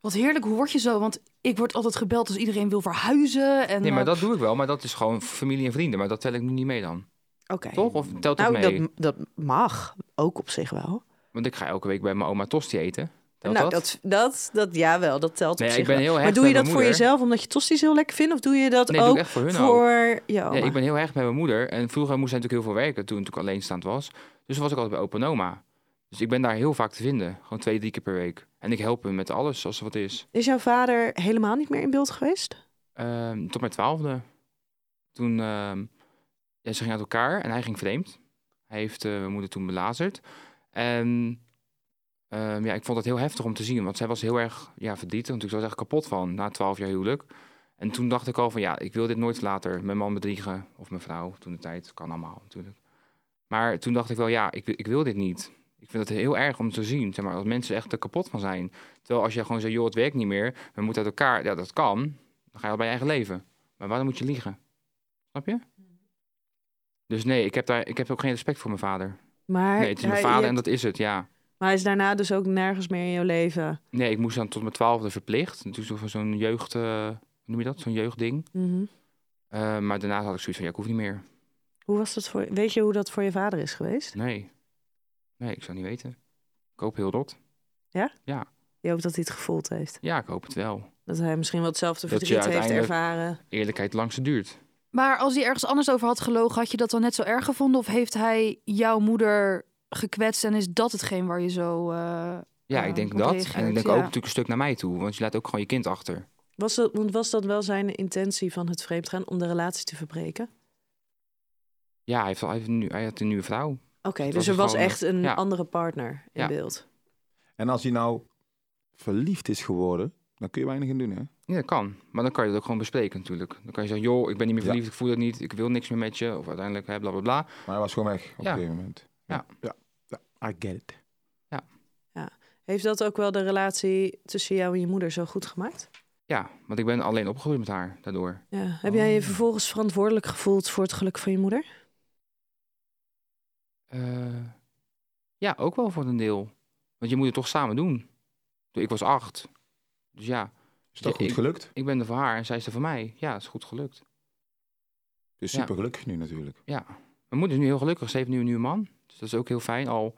D: wat heerlijk, hoe word je zo? Want ik word altijd gebeld als iedereen wil verhuizen. En,
F: Nee, maar
D: eh,
F: dat doe ik wel, maar dat is gewoon familie en vrienden. Maar dat tel ik nu niet mee dan.
B: Oké.
F: Toch? Of telt dat
B: Nou,
F: mee?
B: dat, dat mag ook op zich wel.
F: Want ik ga elke week bij mijn oma tosti eten. Telt
B: nou,
F: dat?
B: dat, dat, dat, ja wel, dat telt op
F: Nee, ik
B: zich
F: ben
B: wel.
F: heel
B: Maar
F: hecht
B: doe je
F: bij
B: dat
F: mijn
B: voor
F: moeder.
B: jezelf omdat je tosti's heel lekker vindt? Of doe je dat
F: Nee, doe
B: ook
F: ik echt voor hun ook.
B: voor je oma?
F: Ja, ik ben heel erg bij mijn moeder. En vroeger moest zij natuurlijk heel veel werken toen, toen ik alleenstaand was. Dus was ik altijd bij opa en oma. Dus ik ben daar heel vaak te vinden. Gewoon twee, drie keer per week. En ik help hem met alles als er wat is.
B: Is jouw vader helemaal niet meer in beeld geweest?
F: Ehm, tot mijn twaalfde. Toen, ehm, ja, ze gingen uit elkaar en hij ging vreemd. Hij heeft eh, mijn moeder toen belazerd. En ehm, ja, ik vond het heel heftig om te zien. Want zij was heel erg ja, verdrietig. Want ik was echt kapot van na twaalf jaar huwelijk. En toen dacht ik al van ja, ik wil dit nooit later. Mijn man bedriegen of mijn vrouw toen de tijd. Kan allemaal natuurlijk. Maar toen dacht ik wel ja, ik, wil- ik wil dit niet. Ik vind het heel erg om te zien. Zeg maar, als mensen echt er kapot van zijn. Terwijl als je gewoon zegt joh, het werkt niet meer. We moeten uit elkaar. Ja, dat kan. Dan ga je al bij je eigen leven. Maar waarom moet je liegen? Snap je? Dus nee, ik heb, daar, ik heb ook geen respect voor mijn vader.
B: Maar,
F: Nee, het is mijn
B: hij,
F: vader
B: je-
F: en dat is het, ja.
B: maar hij is daarna dus ook nergens meer in jouw leven.
F: Nee, ik moest dan tot mijn twaalfde verplicht. En toen zo- zo'n jeugd... eh, hoe noem je dat? Zo'n jeugdding.
B: Mhm.
F: Eh, maar daarna had ik zoiets van, ja, ik hoef niet meer.
B: Hoe was dat voor, weet je hoe dat voor je vader is geweest?
F: Nee. Nee, ik zou niet weten. Ik hoop heel rot.
B: Je hoopt dat hij het gevoeld heeft.
F: Ja, ik hoop het wel.
B: Dat hij misschien wel hetzelfde
F: Dat je
B: verdriet heeft
F: uiteindelijk-
B: ervaren.
F: Eerlijkheid langs de duurt.
D: Maar als hij ergens anders over had gelogen, had je dat dan net zo erg gevonden? Of heeft hij jouw moeder gekwetst en is dat hetgeen waar je zo... eh,
F: Ja,
D: Ja,
F: ik denk
D: hoe
F: dat. En ik
D: reageert,
F: denk
D: ja.
F: ook natuurlijk een stuk naar mij toe. Want je laat ook gewoon je kind achter.
B: Was dat, want was dat wel zijn intentie van het vreemdgaan om de relatie te verbreken?
F: Ja, hij, heeft, al- hij, heeft nu, hij had een nieuwe vrouw.
B: Oké,
F: Dat
B: dus
F: was
B: er was
F: gewoon-
B: echt een
F: ja.
B: andere partner in
F: Ja.
B: beeld.
E: En als hij nou verliefd is geworden, dan kun je weinig aan doen, hè?
F: Ja, dat kan. Maar dan kan je dat ook gewoon bespreken natuurlijk. Dan kan je zeggen, joh, ik ben niet meer
E: Ja.
F: verliefd, ik voel dat niet, ik wil niks meer met je. Of uiteindelijk, hè, bla bla bla.
E: Maar hij was gewoon weg op
F: Ja.
E: een gegeven moment.
F: Ja.
E: ja. Ja. I get it.
B: Heeft dat ook wel de relatie tussen jou en je moeder zo goed gemaakt?
F: Ja, want ik ben alleen opgegroeid met haar daardoor.
B: Ja. Heb jij
F: Oh.
B: je vervolgens verantwoordelijk gevoeld voor het geluk van je moeder?
F: Eh, ja, ook wel voor een deel. Want je moet het toch samen doen. Ik was acht. Dus ja,
E: Is dat
F: Ja,
E: goed
F: ik-
E: gelukt?
F: ik ben er voor haar en zij is er voor mij. Ja, dat is goed gelukt.
E: Dus
F: Ja.
E: super gelukkig nu natuurlijk.
F: Ja. Mijn moeder is nu heel gelukkig, ze heeft nu een nieuwe man. Dus dat is ook heel fijn, al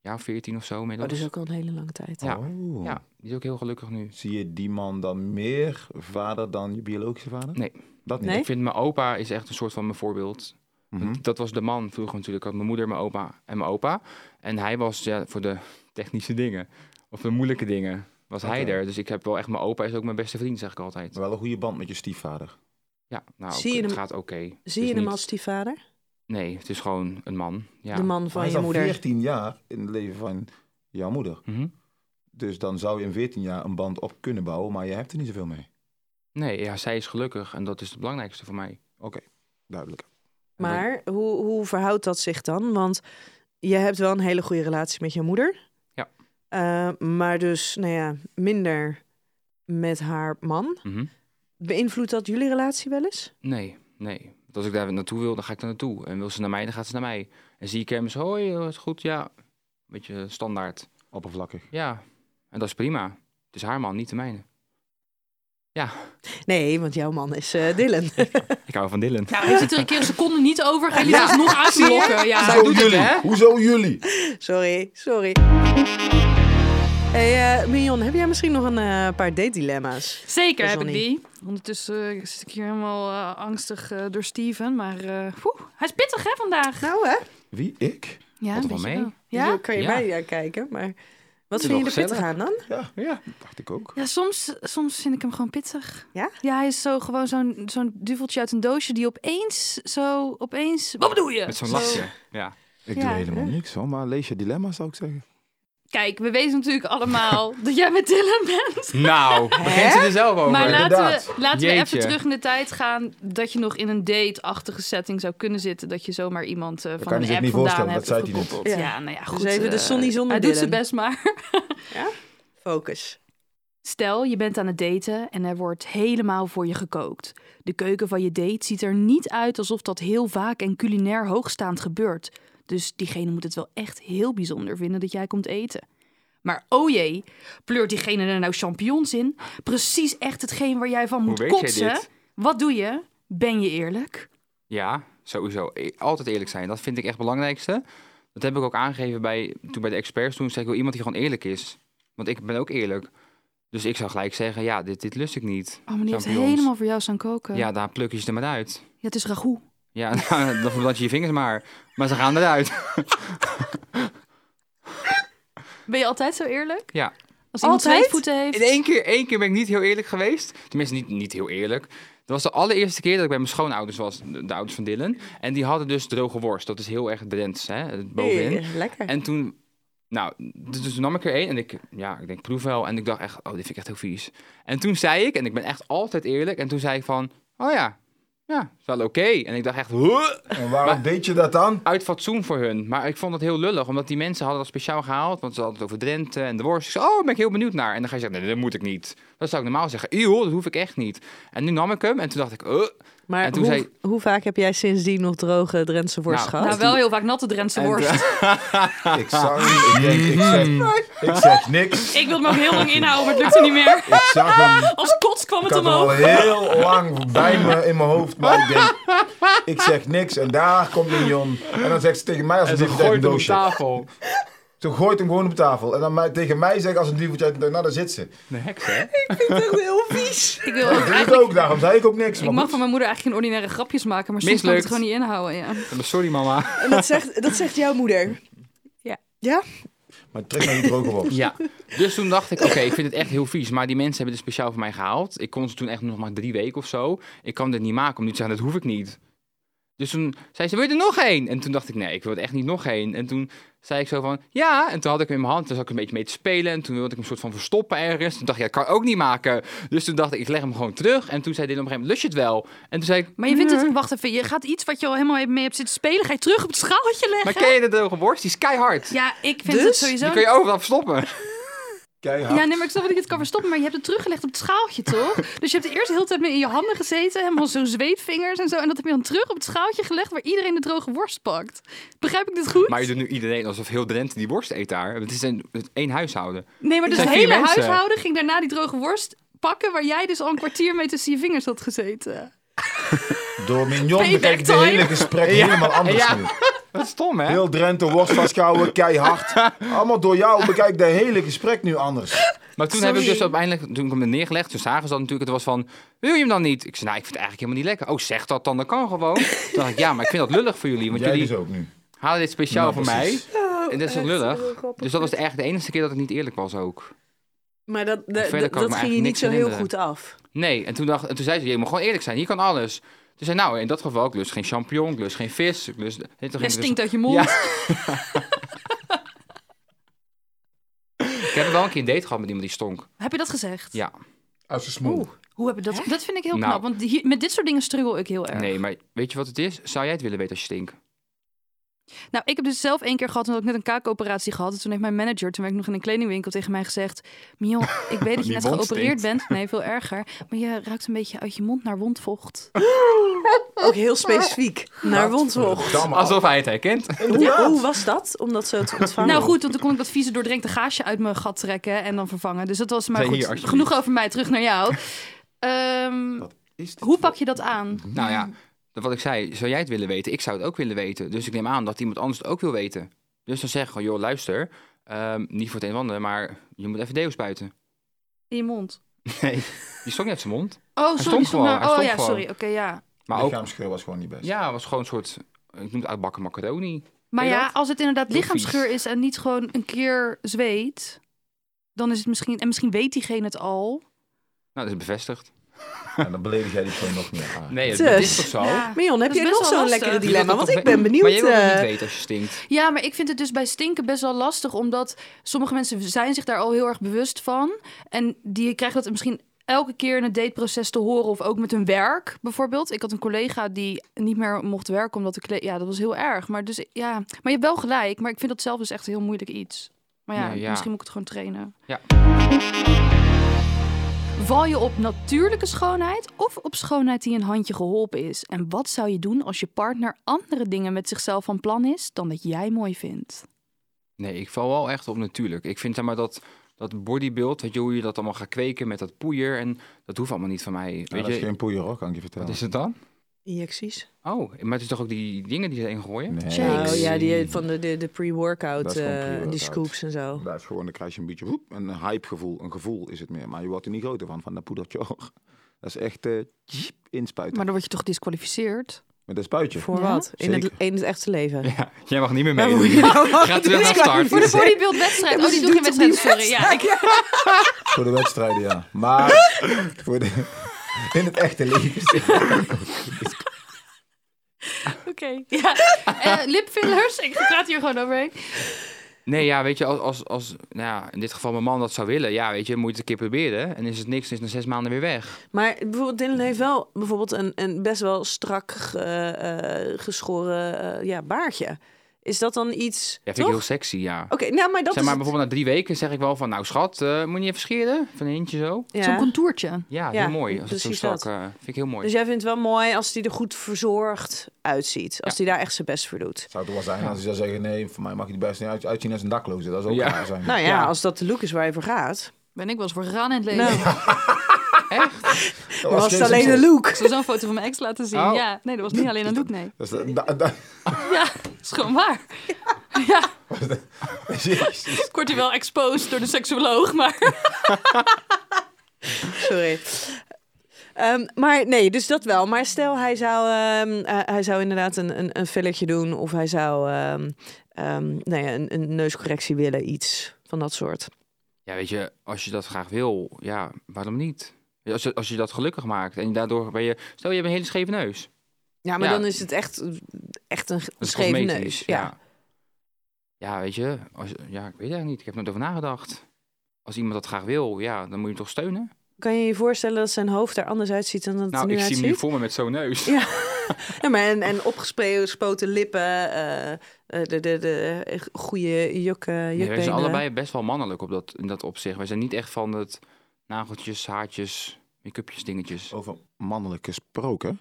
F: ja, 14 of zo
B: Oh,
F: inmiddels.
B: dat is ook al een hele lange tijd.
F: Ja.
E: Oh.
F: Ja, die is ook heel gelukkig nu.
E: Zie je die man dan meer vader dan je biologische vader?
F: Nee.
E: Dat niet?
B: Nee?
F: Ik vind mijn opa is echt een soort van mijn voorbeeld.
E: Mhm.
F: Want Dat was de man vroeger natuurlijk. Ik had mijn moeder, mijn opa en mijn opa. En hij was ja, voor de technische dingen. Of de moeilijke dingen. Was hij
E: Oké.
F: er. Dus ik heb wel echt... Mijn opa is ook mijn beste vriend, zeg ik altijd.
E: Maar wel een goede band met je stiefvader.
F: Ja, nou,
B: Zie je
F: het
B: hem-
F: gaat oké. Het
B: Zie
F: is
B: je hem
F: niet-
B: als die vader?
F: Nee, het is gewoon een man. Ja.
B: De man
E: hij
B: van
E: is
B: je
E: al
B: moeder.
E: 14 jaar in het leven van jouw moeder.
F: Mhm.
E: Dus dan zou je in 14 jaar een band op kunnen bouwen, maar je hebt er niet zoveel mee.
F: Nee, ja, zij is gelukkig. En dat is het belangrijkste voor mij.
E: Duidelijk.
F: En dan-
B: Maar hoe, hoe verhoudt dat zich dan? Want je hebt wel een hele goede relatie met je moeder.
F: Ja.
B: Eh, maar dus, nou ja, minder met haar man.
F: Mhm.
B: Beïnvloedt dat jullie relatie wel eens?
F: Nee, nee. Want als ik daar naartoe wil, dan ga ik daar naartoe. En wil ze naar mij, dan gaat ze naar mij. En zie ik hem zo... Hoi, eh, is goed, ja. Beetje standaard.
E: Oppervlakkig.
F: Ja. En dat is prima. Het is haar man, niet de mijne.
B: Nee, want jouw man is eh, Dylan.
F: Ik hou van Dylan.
D: Nou, heeft het er een keer een seconde niet over? Gaan jullie ja. nog aanslokken? Ja.
F: Zij doet het, hè?
E: Hoezo jullie?
B: sorry, sorry. Hey, eh Mignon, heb jij misschien nog een eh, paar date dilemma's?
D: Zeker
B: Dat is
D: heb ik
B: wel
D: die. Ondertussen eh, zit ik hier helemaal eh, angstig eh, door Steven. Maar eh, poeh, hij is pittig hè vandaag.
B: Nou hè,
E: Wie? Ik?
D: ja,
F: valt
D: een
F: wel
D: beetje
F: mee.
D: wel.
B: zo
D: Ja?
B: kan je
F: Ja.
B: mij ja, kijken. Maar wat
F: is
B: vind je
F: wel
B: er pittig
F: gezellig.
B: aan dan?
E: Ja. ja. Dacht ik ook.
D: ja, soms, soms vind ik hem gewoon pittig.
B: Ja?
D: Ja, hij is zo gewoon zo'n zo'n duveltje uit een doosje die opeens zo opeens... Wat bedoel je?
F: Met zo'n
D: Zo-
F: lachje. Ja.
E: Ik
D: Ja.
E: doe helemaal niks hoor, maar lees je dilemma zou ik
F: [LAUGHS]
E: zeggen.
D: Kijk, we weten natuurlijk allemaal [LAUGHS] dat jij met Dylan bent.
F: Nou, [LAUGHS] begint ze er zelf over.
D: Maar nou- laten, we,
E: eh, inderdaad.
D: laten we even
F: Jeetje.
D: terug in de tijd gaan dat je nog in een date-achtige setting zou kunnen zitten. Dat je zomaar iemand eh, van
E: kan je
D: een
E: zich
D: app
E: niet
D: vandaan
E: voorstellen,
D: hebt
E: dat zei hij
D: gekoppeld.
B: net.
D: Ja.
B: Ja. Dus
D: nou ja, goed.
B: even de
D: eh,
B: Sonny zonder
D: Hij doet zijn
B: Dylan.
D: best maar.
B: Focus.
D: Stel, je bent aan het daten en er wordt helemaal voor je gekookt. De keuken van je date ziet er niet uit alsof dat heel vaak en culinair hoogstaand gebeurt. Dus diegene moet het wel echt heel bijzonder vinden dat jij komt eten. Maar oh jee, pleurt diegene er nou champignons in? Precies echt hetgeen waar jij van moet
F: weet jij
D: kotsen?
F: dit?
D: Wat doe je? Ben je eerlijk?
F: Ja, sowieso. E- Altijd eerlijk zijn. Dat vind ik echt het belangrijkste. Dat heb ik ook aangegeven bij, toen bij de experts. Toen zei ik wel iemand die gewoon eerlijk is. Want ik ben ook eerlijk. Dus ik zou gelijk zeggen, ja, dit, dit lust ik niet.
D: Oh, maar die heeft
F: Champignons.
D: helemaal voor jou staan koken. Ja,
F: Ja, daar pluk je ze er maar uit.
D: het is ragout.
F: Ja, [LAUGHS] dan verbrand je je vingers maar. Maar ze gaan eruit. [LAUGHS]
D: Ben je altijd zo eerlijk?
F: Ja.
D: Als iemand twee
B: Altijd?
D: voeten heeft?
F: In één keer, één keer ben ik niet heel eerlijk geweest. Tenminste, niet, niet heel eerlijk. Dat was de allereerste keer dat ik bij mijn schoonouders was, de, de ouders van Dylan. En die hadden dus droge worst. Dat is heel erg Drents, hè, bovenin.
B: Eh, lekker.
F: En toen, nou, dus, dus nam ik er één en ik, ja, ik denk proef wel. En ik dacht echt, oh, dit vind ik echt heel vies. En toen zei ik, en ik ben echt altijd eerlijk, en toen zei ik van, oh ja, ja, is wel oké. En ik dacht echt, huh?
E: En waarom deed je dat dan?
F: uit fatsoen voor hun. Maar ik vond dat heel lullig, omdat die mensen hadden dat speciaal gehaald. Want ze hadden het over Drenthe en de worst. Ik zei, oh, daar ben ik heel benieuwd naar. En dan ga je zeggen, nee, dat moet ik niet. Dat zou ik normaal zeggen, eeuw, dat hoef ik echt niet. En nu nam ik hem en toen dacht ik, uh,
B: maar
F: en
B: hoe,
F: toen zei-
B: hoe vaak heb jij sindsdien nog droge Drentse worst
F: Nou,
B: gehad?
D: Nou, wel heel vaak natte Drentse worst.
E: Ik zag hem, ik denk, ik zeg, ik zeg niks.
D: Ik wilde me ook heel lang inhouden, maar het lukte niet meer.
E: Ik zag
F: [LAUGHS]
E: hem,
D: Als kots kwam
E: ik
D: het
E: had hem al
F: eh,
D: omhoog.
E: heel lang bij me in mijn hoofd, maar ik denk, ik zeg niks. En daar komt Mignon. En dan zegt ze tegen mij als een
F: en [LAUGHS] ze
E: dieventuig een
F: gooit hem op
E: doosje.
F: tafel.
E: Ze gooit hem gewoon op tafel. En dan mij- tegen mij zegt als een duveltje uit de nou daar zit ze.
F: De heks, hè? [LAUGHS]
B: Dat is echt heel vies.
D: Ik wil
E: Dat
D: ook
E: doe ik
D: eigenlijk...
E: ook, daarom zei ik ook niks.
D: Ik
E: maar
D: mag
E: goed.
D: van mijn moeder eigenlijk geen ordinaire grapjes maken, maar soms kan ik
F: Mislukt.
D: het gewoon niet inhouden. Ja.
F: Sorry, mama.
B: En dat zegt, dat zegt jouw moeder.
D: Ja.
B: Ja?
E: Maar terug naar die droge worst.
F: Ja. Dus toen dacht ik, oké, ik vind het echt heel vies. Maar die mensen hebben het speciaal voor mij gehaald. Ik kon ze toen echt nog maar drie weken of zo. Ik kan dit niet maken om nu te zeggen, dat hoef ik niet. Dus toen zei ze, wil je er nog één? En toen dacht ik, nee, ik wil er echt niet nog één. En toen zei ik zo van, ja. En toen had ik hem in mijn hand, toen zat ik een beetje mee te spelen. En toen wilde ik hem soort van verstoppen ergens. Toen dacht ik, ja, dat kan ik ook niet maken. Dus toen dacht ik, ik leg hem gewoon terug. En toen zei dit op een gegeven moment, lust je het wel? En toen zei ik,
D: Maar je vindt het... Wacht even, je gaat iets wat je al helemaal mee hebt zitten spelen, ga je terug op het schaaltje leggen?
F: maar ken je de droge worst? Die is keihard.
D: Ja, ik vind
B: Dus?
D: het sowieso...
F: Die kun je overal verstoppen.
E: Keihard.
D: Ja, nee, maar ik snap dat ik het kan verstoppen, maar je hebt het teruggelegd op het schaaltje,
F: [LAUGHS]
D: toch? Dus je hebt er eerst de hele tijd mee in je handen gezeten, helemaal zo zweetvingers en zo. En dat heb je dan terug op het schaaltje gelegd waar iedereen de droge worst pakt. Begrijp ik dit goed?
F: Maar je doet nu iedereen alsof heel Drenthe die worst eet daar. Het is een, het één huishouden.
D: Nee, maar dus
F: Het
D: het
F: zijn vier
D: hele
F: mensen.
D: huishouden ging daarna die droge worst pakken waar jij dus al een kwartier mee tussen je vingers had gezeten.
E: Door Mignon
D: Payback
E: bekijk ik het
D: time.
E: hele gesprek helemaal anders
F: Ja.
E: nu.
F: Wat stom, hè?
E: Heel Drenthe, worst vasthouden,
F: [LAUGHS]
E: keihard. Allemaal door jou bekijk ik de hele gesprek nu anders.
F: Maar toen heb ik dus uiteindelijk, toen ik hem neergelegd, toen zagen ze dat natuurlijk. Het was van, wil je hem dan niet? Ik zei, nou, ik vind het eigenlijk helemaal niet lekker. Oh, zeg dat dan, dat kan [LAUGHS] gewoon. toen dacht ik, ja, maar ik vind dat lullig voor jullie. Want
E: Jij
F: jullie
E: dus ook nu.
F: halen dit speciaal
E: Nou,
F: voor
E: precies.
F: mij. en dat is toch lullig? Dus dat was eigenlijk de enige keer dat ik niet eerlijk was ook.
B: Maar dat, dat-
F: Verder kan ik
B: dat ging
F: me
B: je
F: eigenlijk
B: niet
F: niks
B: zo heel
F: herinneren.
B: goed af.
F: Nee, en toen, dacht, en toen zei ze, je moet gewoon eerlijk zijn, hier kan alles. Toen zei ik, nou, in dat geval, ik lust geen champignon, ik lust geen vis. Ik lust, het
D: Het stinkt uit je mond.
F: Ja. ik heb wel een keer een date gehad met iemand die stonk.
D: Heb je dat gezegd?
F: Ja.
E: Als een smoel.
D: Hoe heb je dat? Dat vind ik heel
F: Nou.
D: knap, want hier, met dit soort dingen struggle ik heel erg.
F: Nee, maar weet je wat het is? Zou jij het willen weten als je stinkt?
B: Oh,
D: Nou, ik heb dus zelf één keer gehad, omdat ik net een kaakoperatie gehad. En toen heeft mijn manager, toen werd ik nog in een kledingwinkel, tegen mij gezegd... Mion, ik
F: [LAUGHS]
D: weet dat je
F: Die
D: net
F: wond
D: geopereerd
F: stinkt.
D: bent. Nee, veel erger. Maar je ruikt een beetje uit je mond naar wondvocht.
B: Ook heel specifiek. Naar wondvocht.
E: Gadverdamme.
F: Alsof hij het
B: [LAUGHS]
F: herkent.
B: Ja, hoe was dat? Om dat zo te ontvangen?
D: Nou goed, want toen kon ik dat vieze doordrenkte gaasje uit mijn gat trekken en dan vervangen. Dus dat was maar
F: Zeg
D: goed.
F: hier, alsjeblieft.
D: Genoeg over mij, terug naar jou. Ehm,
E: is dit
D: hoe pak je dat aan?
F: Nou ja, dat wat ik zei, zou jij het willen weten? Ik zou het ook willen weten. Dus ik neem aan dat iemand anders het ook wil weten. Dus dan zeg ik gewoon, joh, luister. ehm, niet voor het een of ander, maar je moet even deo spuiten.
D: In je mond.
F: Nee. Die stond niet uit zijn mond.
D: Oh,
F: stond
D: sorry. die stond
F: gewoon,
D: nou-
F: hij
D: oh
F: stond
D: ja,
F: gewoon.
D: sorry. Oké, ja.
F: Maar ook,
E: Lichaamsgeur was gewoon niet best.
F: ja, het was gewoon een soort, ik noem het uitbakken macaroni.
D: Maar
F: Ken je
D: ja,
F: dat?
D: als het inderdaad
F: Heel vies.
D: lichaamsgeur is en niet gewoon een keer zweet... dan is het misschien... En misschien weet diegene het al.
F: Nou, dat is bevestigd.
E: En dan beledig jij die persoon nog meer Ah. aan.
F: Nee,
B: Dus.
F: dat is toch zo?
D: Ja.
B: Mion, heb
D: Ah, Dat is
B: je nog
D: best wel
B: zo'n
D: lastig.
B: lekkere
D: Je
B: dilemma?
F: wilt
B: Want
F: toch
B: ik
F: we-
B: ben benieuwd.
F: Maar je wil het
B: eh,
F: niet weten als je stinkt.
D: Ja, maar ik vind het dus bij stinken best wel lastig, omdat sommige mensen zijn zich daar al heel erg bewust van. En die krijgen dat misschien elke keer in het dateproces te horen of ook met hun werk bijvoorbeeld. Ik had een collega die niet meer mocht werken omdat de kle- Ja, dat was heel erg. Maar dus ja, maar je hebt wel gelijk. Maar ik vind dat zelf dus echt een heel moeilijk iets. Maar ja,
F: Nee, ja.
D: misschien moet ik het gewoon trainen.
F: Ja.
D: Val je op natuurlijke schoonheid of op schoonheid die een handje geholpen is? En wat zou je doen als je partner andere dingen met zichzelf van plan is dan dat jij mooi vindt?
F: Nee, ik val wel echt op natuurlijk. Ik vind zeg maar dat, dat bodybuild, weet je, hoe je dat allemaal gaat kweken met dat poeier. En dat hoeft allemaal niet van mij. Weet
E: dat is
F: je,
E: geen poeier hoor, kan ik je vertellen.
F: wat is het dan?
B: Injecties.
F: Oh, maar het is toch ook die dingen die ze erin gooien?
E: Nee.
B: Oh ja, die van de, de, de pre-workout,
E: Dat is gewoon
B: eh, die
E: pre-workout.
B: scoops en zo.
E: Dat is gewoon, dan krijg je een beetje woep, een hypegevoel. Een gevoel is het meer. Maar je wordt er niet groter van, van dat poedertje. hoor. Dat is echt eh tjiep, inspuiten.
D: Maar dan word je toch gedisqualificeerd?
E: Met een spuitje.
B: Voor
D: Ja?
B: wat? In het,
E: Zeker.
B: in het echte leven.
F: [LAUGHS] Ja, jij mag niet meer
B: Waar moet
F: meedoen.
B: je nou wat
F: Gaat terug naar
B: doen?
F: start.
D: Voor de bodybuildwedstrijd.
B: Ja,
D: Oh, die
B: maar
D: doe geen
B: ze doet
D: wedstrijd,
B: toch
D: sorry. Ja, ik,
E: Voor de wedstrijden, ja.
F: [LAUGHS]
E: Maar voor de, in het echte leven.
D: Oké. Ja. Eh, lipfillers, ik praat hier gewoon overheen.
F: Nee, ja, weet je, als, als, als nou ja, in dit geval mijn man dat zou willen, ja, weet je, moet je het een keer proberen. En is het niks, dan is het na zes maanden weer weg.
B: Maar bijvoorbeeld Dylan heeft wel bijvoorbeeld een, een best wel strak eh, eh, geschoren eh, ja, baardje. Is dat dan iets,
F: Ja,
B: toch?
F: vind ik heel
B: Oké,
F: sexy, ja.
B: nou, maar dat
F: zeg
B: is...
F: maar bijvoorbeeld na drie weken zeg ik wel van, nou schat, eh, moet je even scheren? Van een eentje zo.
B: ja.
D: Zo'n contourtje.
F: Ja,
B: Ja,
F: heel mooi. Als het zo
B: precies dat.
F: strak, eh, vind ik heel mooi.
B: Dus jij vindt het wel mooi als hij er goed verzorgd uitziet. Als hij daar echt zijn best voor doet.
E: Zou het wel zijn als hij zou zeggen, nee, voor mij mag je die best niet uit, uitzien als een dakloze. Dat zou ook
F: Ja.
E: raar zijn.
B: Nou ja,
F: Ja.
B: als dat de look is waar je voor gaat.
D: Ben ik wel eens voor gegaan in het leven.
B: Nou,
D: Ik
E: Dat
B: was
E: geen
B: het alleen de
E: succes.
F: [LAUGHS]
B: look.
D: zal zo'n foto van mijn ex laten zien.
F: Oh.
D: Ja, nee, dat was niet alleen een look, nee.
E: Dat [LAUGHS] is de- da- da-
D: Ja, is gewoon [LAUGHS] waar. Ja,
E: Jezus.
D: ik word hier wel exposed door de seksuoloog, maar...
B: Sorry. Ehm, maar nee, dus dat wel. Maar stel, hij zou, ehm, eh, hij zou inderdaad een, een, een filletje doen. Of hij zou ehm, ehm, nou ja, een, een neuscorrectie willen. Iets van dat soort.
F: Ja, weet je, als je dat graag wil, ja, waarom niet? Ja, Als je, als je dat gelukkig maakt en daardoor ben je... Stel, je hebt een hele scheve neus.
B: Ja, maar
F: Ja.
B: dan is het echt, echt een
F: Dat is
B: scheve
F: cosmetisch,
B: neus. Ja.
F: ja. Ja, weet je, als, ja, ik weet het eigenlijk niet. Ik heb er nooit over nagedacht. Als iemand dat graag wil, ja, dan moet je hem toch steunen?
B: Kan je je voorstellen dat zijn hoofd er anders uitziet dan dat het er
F: Nou,
B: nu
F: ik zie
B: uitziet?
F: hem nu voor me met zo'n neus.
B: Ja, ja maar en, en opgespoten lippen, eh, eh, de, de, de eh, goede juk, eh,
F: Nee, wij
B: jukbeenderen.
F: zijn allebei best wel mannelijk op dat, in dat opzicht. Wij zijn niet echt van het nageltjes, haartjes, make-upjes,
B: Oh.
F: dingetjes.
E: Over mannelijk gesproken.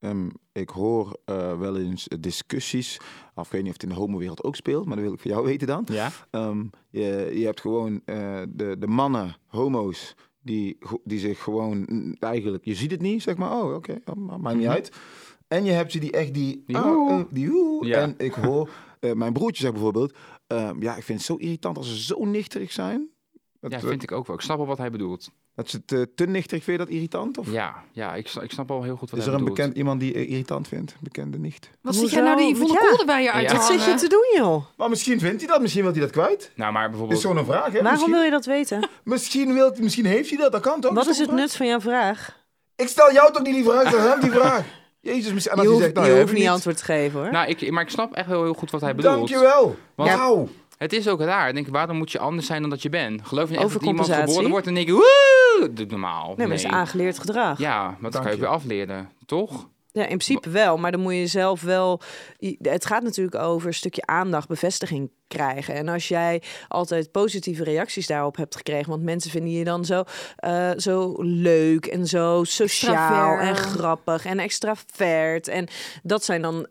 E: Ehm, ik hoor eh, wel eens discussies. Of ik weet niet of het in de homowereld ook speelt, maar dat wil ik van jou weten dan.
F: Ja?
E: Ehm, je, je hebt gewoon eh, de, de mannen, homo's, die, go- die zich gewoon mm, eigenlijk, je ziet het niet, zeg maar, oh oké, ja, ma- maakt niet uit. En je hebt ze die echt die,
F: Mhm. Die
E: ah,
F: hoe.
E: eh, die hoe.
F: Ja.
E: En ik
F: [LAUGHS]
E: hoor, eh, mijn broertje zegt bijvoorbeeld, ehm, ja, ik vind het zo irritant als ze zo nichterig zijn. Dat,
F: Ja, vind ik ook wel. Ik snap wel wat hij bedoelt.
E: dat ze te, te nichterig vind je dat irritant? Of
F: Ja, ja ik, sna- ik snap al heel goed wat
E: is er
F: hij
E: een
F: bedoelt.
E: bekend iemand die eh, irritant vindt? Een Bekende niet.
D: Wat
B: Hoezo?
D: zit jij nou die Yvonne
B: Ja.
D: Kolderweijer bij uit te
F: Ja.
B: Wat zit je
D: hangen?
B: te doen, joh?
E: Maar misschien vindt hij dat, misschien wil hij dat kwijt.
F: Nou, maar
E: Is
F: bijvoorbeeld...
E: zo'n vraag, hè?
B: Waarom
E: Misschien,
B: wil je dat weten?
E: misschien, wil, misschien heeft hij dat, dat kan toch?
B: Wat
E: Zo'n
B: is het
E: vraag.
B: nut van jouw vraag?
E: Ik stel jou toch niet die vraag, dan hem die vraag.
B: [LAUGHS]
E: Jezus, misschien... En
B: Je
E: als hij
B: hoeft,
E: zegt, nou,
B: je
E: heb
B: hoeft niet antwoord te geven, hoor.
F: Nou, ik, maar ik snap echt wel heel goed wat hij bedoelt.
E: Dankjewel.
F: Want-
E: Wauw.
F: Het is ook raar. Ik denk, waarom moet je anders zijn dan dat je bent? Geloof je nou echt dat iemand
B: Overcompensatie.
F: geboren wordt en denk je... Woe! Doe normaal.
B: nee, maar dat is aangeleerd gedrag. Ja.
F: Ja, maar dat
E: Dank
F: kan je
E: je.
F: weer afleren, toch?
B: in principe wel, maar dan moet je zelf wel... je- Het gaat natuurlijk over een stukje aandacht, bevestiging krijgen. En als jij altijd positieve reacties daarop hebt gekregen... want mensen vinden je dan zo, eh, zo leuk en zo sociaal en
D: Extravert.
B: grappig en extravert. En dat zijn dan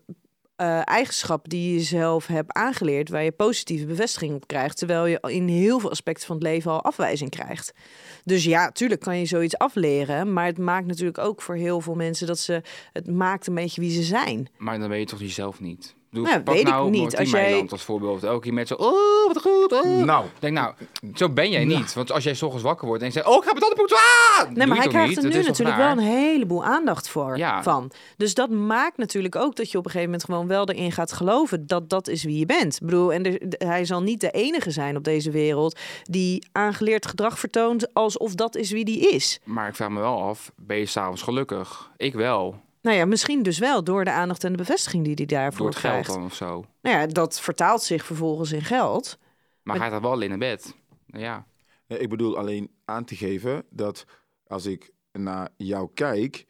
B: eh, eigenschappen die je zelf hebt aangeleerd... waar je positieve bevestiging op krijgt... terwijl je in heel veel aspecten van het leven al afwijzing krijgt. Dus ja, tuurlijk kan je zoiets afleren... maar het maakt natuurlijk ook voor heel veel mensen... dat ze het maakt een beetje wie ze zijn.
F: Maar dan ben je toch jezelf niet? Ik bedoel,
B: Nou,
F: pak
B: weet ik
F: nou
B: niet.
F: Martien
B: Als jij-
F: Meiland als voorbeeld. Elke keer met zo, oh, wat goed. oh.
E: Nou.
F: Ik Denk nou, zo ben jij niet. Want als jij 's ochtends wakker wordt en je zegt, oh, ik ga mijn tanden poetsen. ah! Doe
B: Nee,
F: je
B: maar hij
F: toch
B: krijgt
F: niet?
B: er
F: Dat
B: nu
F: is toch
B: natuurlijk
F: raar?
B: wel een heleboel aandacht voor
F: Ja.
B: van. Dus dat maakt natuurlijk ook dat je op een gegeven moment gewoon wel erin gaat geloven dat dat is wie je bent. Ik bedoel, en er- d- hij zal niet de enige zijn op deze wereld die aangeleerd gedrag vertoont alsof dat is wie die is.
F: Maar ik vraag me wel af, ben je s'avonds gelukkig? Ik wel.
B: Nou ja, misschien dus wel door de aandacht en de bevestiging die hij daarvoor
F: Door het geld
B: krijgt.
F: dan of zo.
B: Nou ja, dat vertaalt zich vervolgens in geld.
F: Maar gaat dat wel in naar bed? Nou ja.
E: Nee, ik bedoel alleen aan te geven dat als ik naar jou kijk,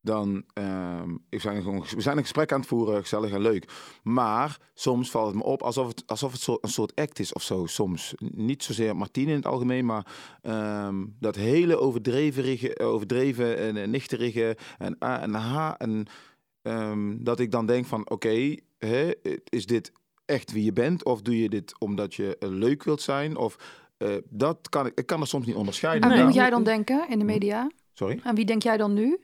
E: dan ehm, ik zijn gewoon, we zijn een gesprek aan het voeren, gezellig en leuk. Maar soms valt het me op alsof het, alsof het zo, een soort act is of zo. Soms niet zozeer Martine in het algemeen, maar ehm, dat hele overdreven, overdreven en eh, nichterige en A en H. En, ehm, dat ik dan denk van oké, hè, is dit echt wie je bent? Of doe je dit omdat je eh, leuk wilt zijn? Of eh, dat kan ik, ik kan dat soms niet
D: Ah,
E: onderscheiden.
D: Aan wie
E: Daarom-
D: moet jij dan denken in de media?
E: Sorry?
D: Aan wie denk jij dan nu?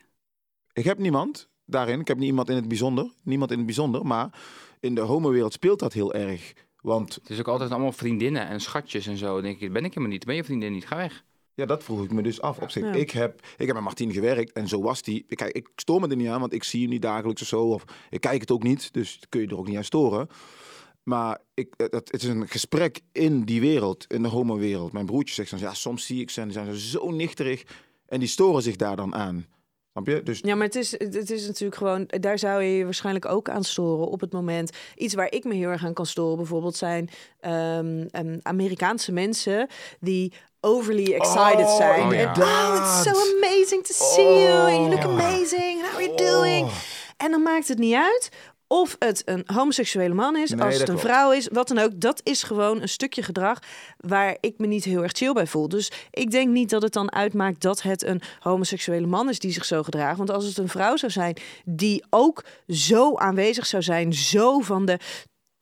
E: Ik heb niemand. daarin. Ik heb niet iemand in het bijzonder, niemand in het bijzonder, maar in de homo-wereld speelt dat heel erg. Want
F: Het is ook altijd allemaal vriendinnen en schatjes en zo. Dan denk ik, dat ben ik helemaal niet. Ben je vriendin niet? Ga weg.
E: ja, dat vroeg ik me dus af. Op zich,
B: Ja.
E: ik, heb, ik heb met Martien gewerkt en zo was die. Kijk, ik stoor me er niet aan, want ik zie hem niet dagelijks of zo. Of ik kijk het ook niet, dus kun je er ook niet aan storen. Maar ik, eh, dat, het is een gesprek in die wereld, in de homo-wereld. Mijn broertje zegt dan, ja, soms zie ik ze en die zijn ze zo nichterig. En die storen zich daar dan aan. Snap je? Dus
B: Ja, maar het is, het is natuurlijk gewoon, daar zou je je waarschijnlijk ook aan storen op het moment. Iets waar ik me heel erg aan kan storen bijvoorbeeld zijn ehm, ehm, Amerikaanse mensen die overly excited
E: Oh,
B: zijn.
F: inderdaad.
B: En, oh, it's so amazing to see you. You look
E: Oh.
B: amazing. How are you doing? En dan maakt het niet uit of het een homoseksuele man is,
E: Nee,
B: als het
E: dat
B: een
E: klopt.
B: vrouw is, wat dan ook. Dat is gewoon een stukje gedrag waar ik me niet heel erg chill bij voel. Dus ik denk niet dat het dan uitmaakt dat het een homoseksuele man is die zich zo gedraagt. Want als het een vrouw zou zijn die ook zo aanwezig zou zijn, zo van de.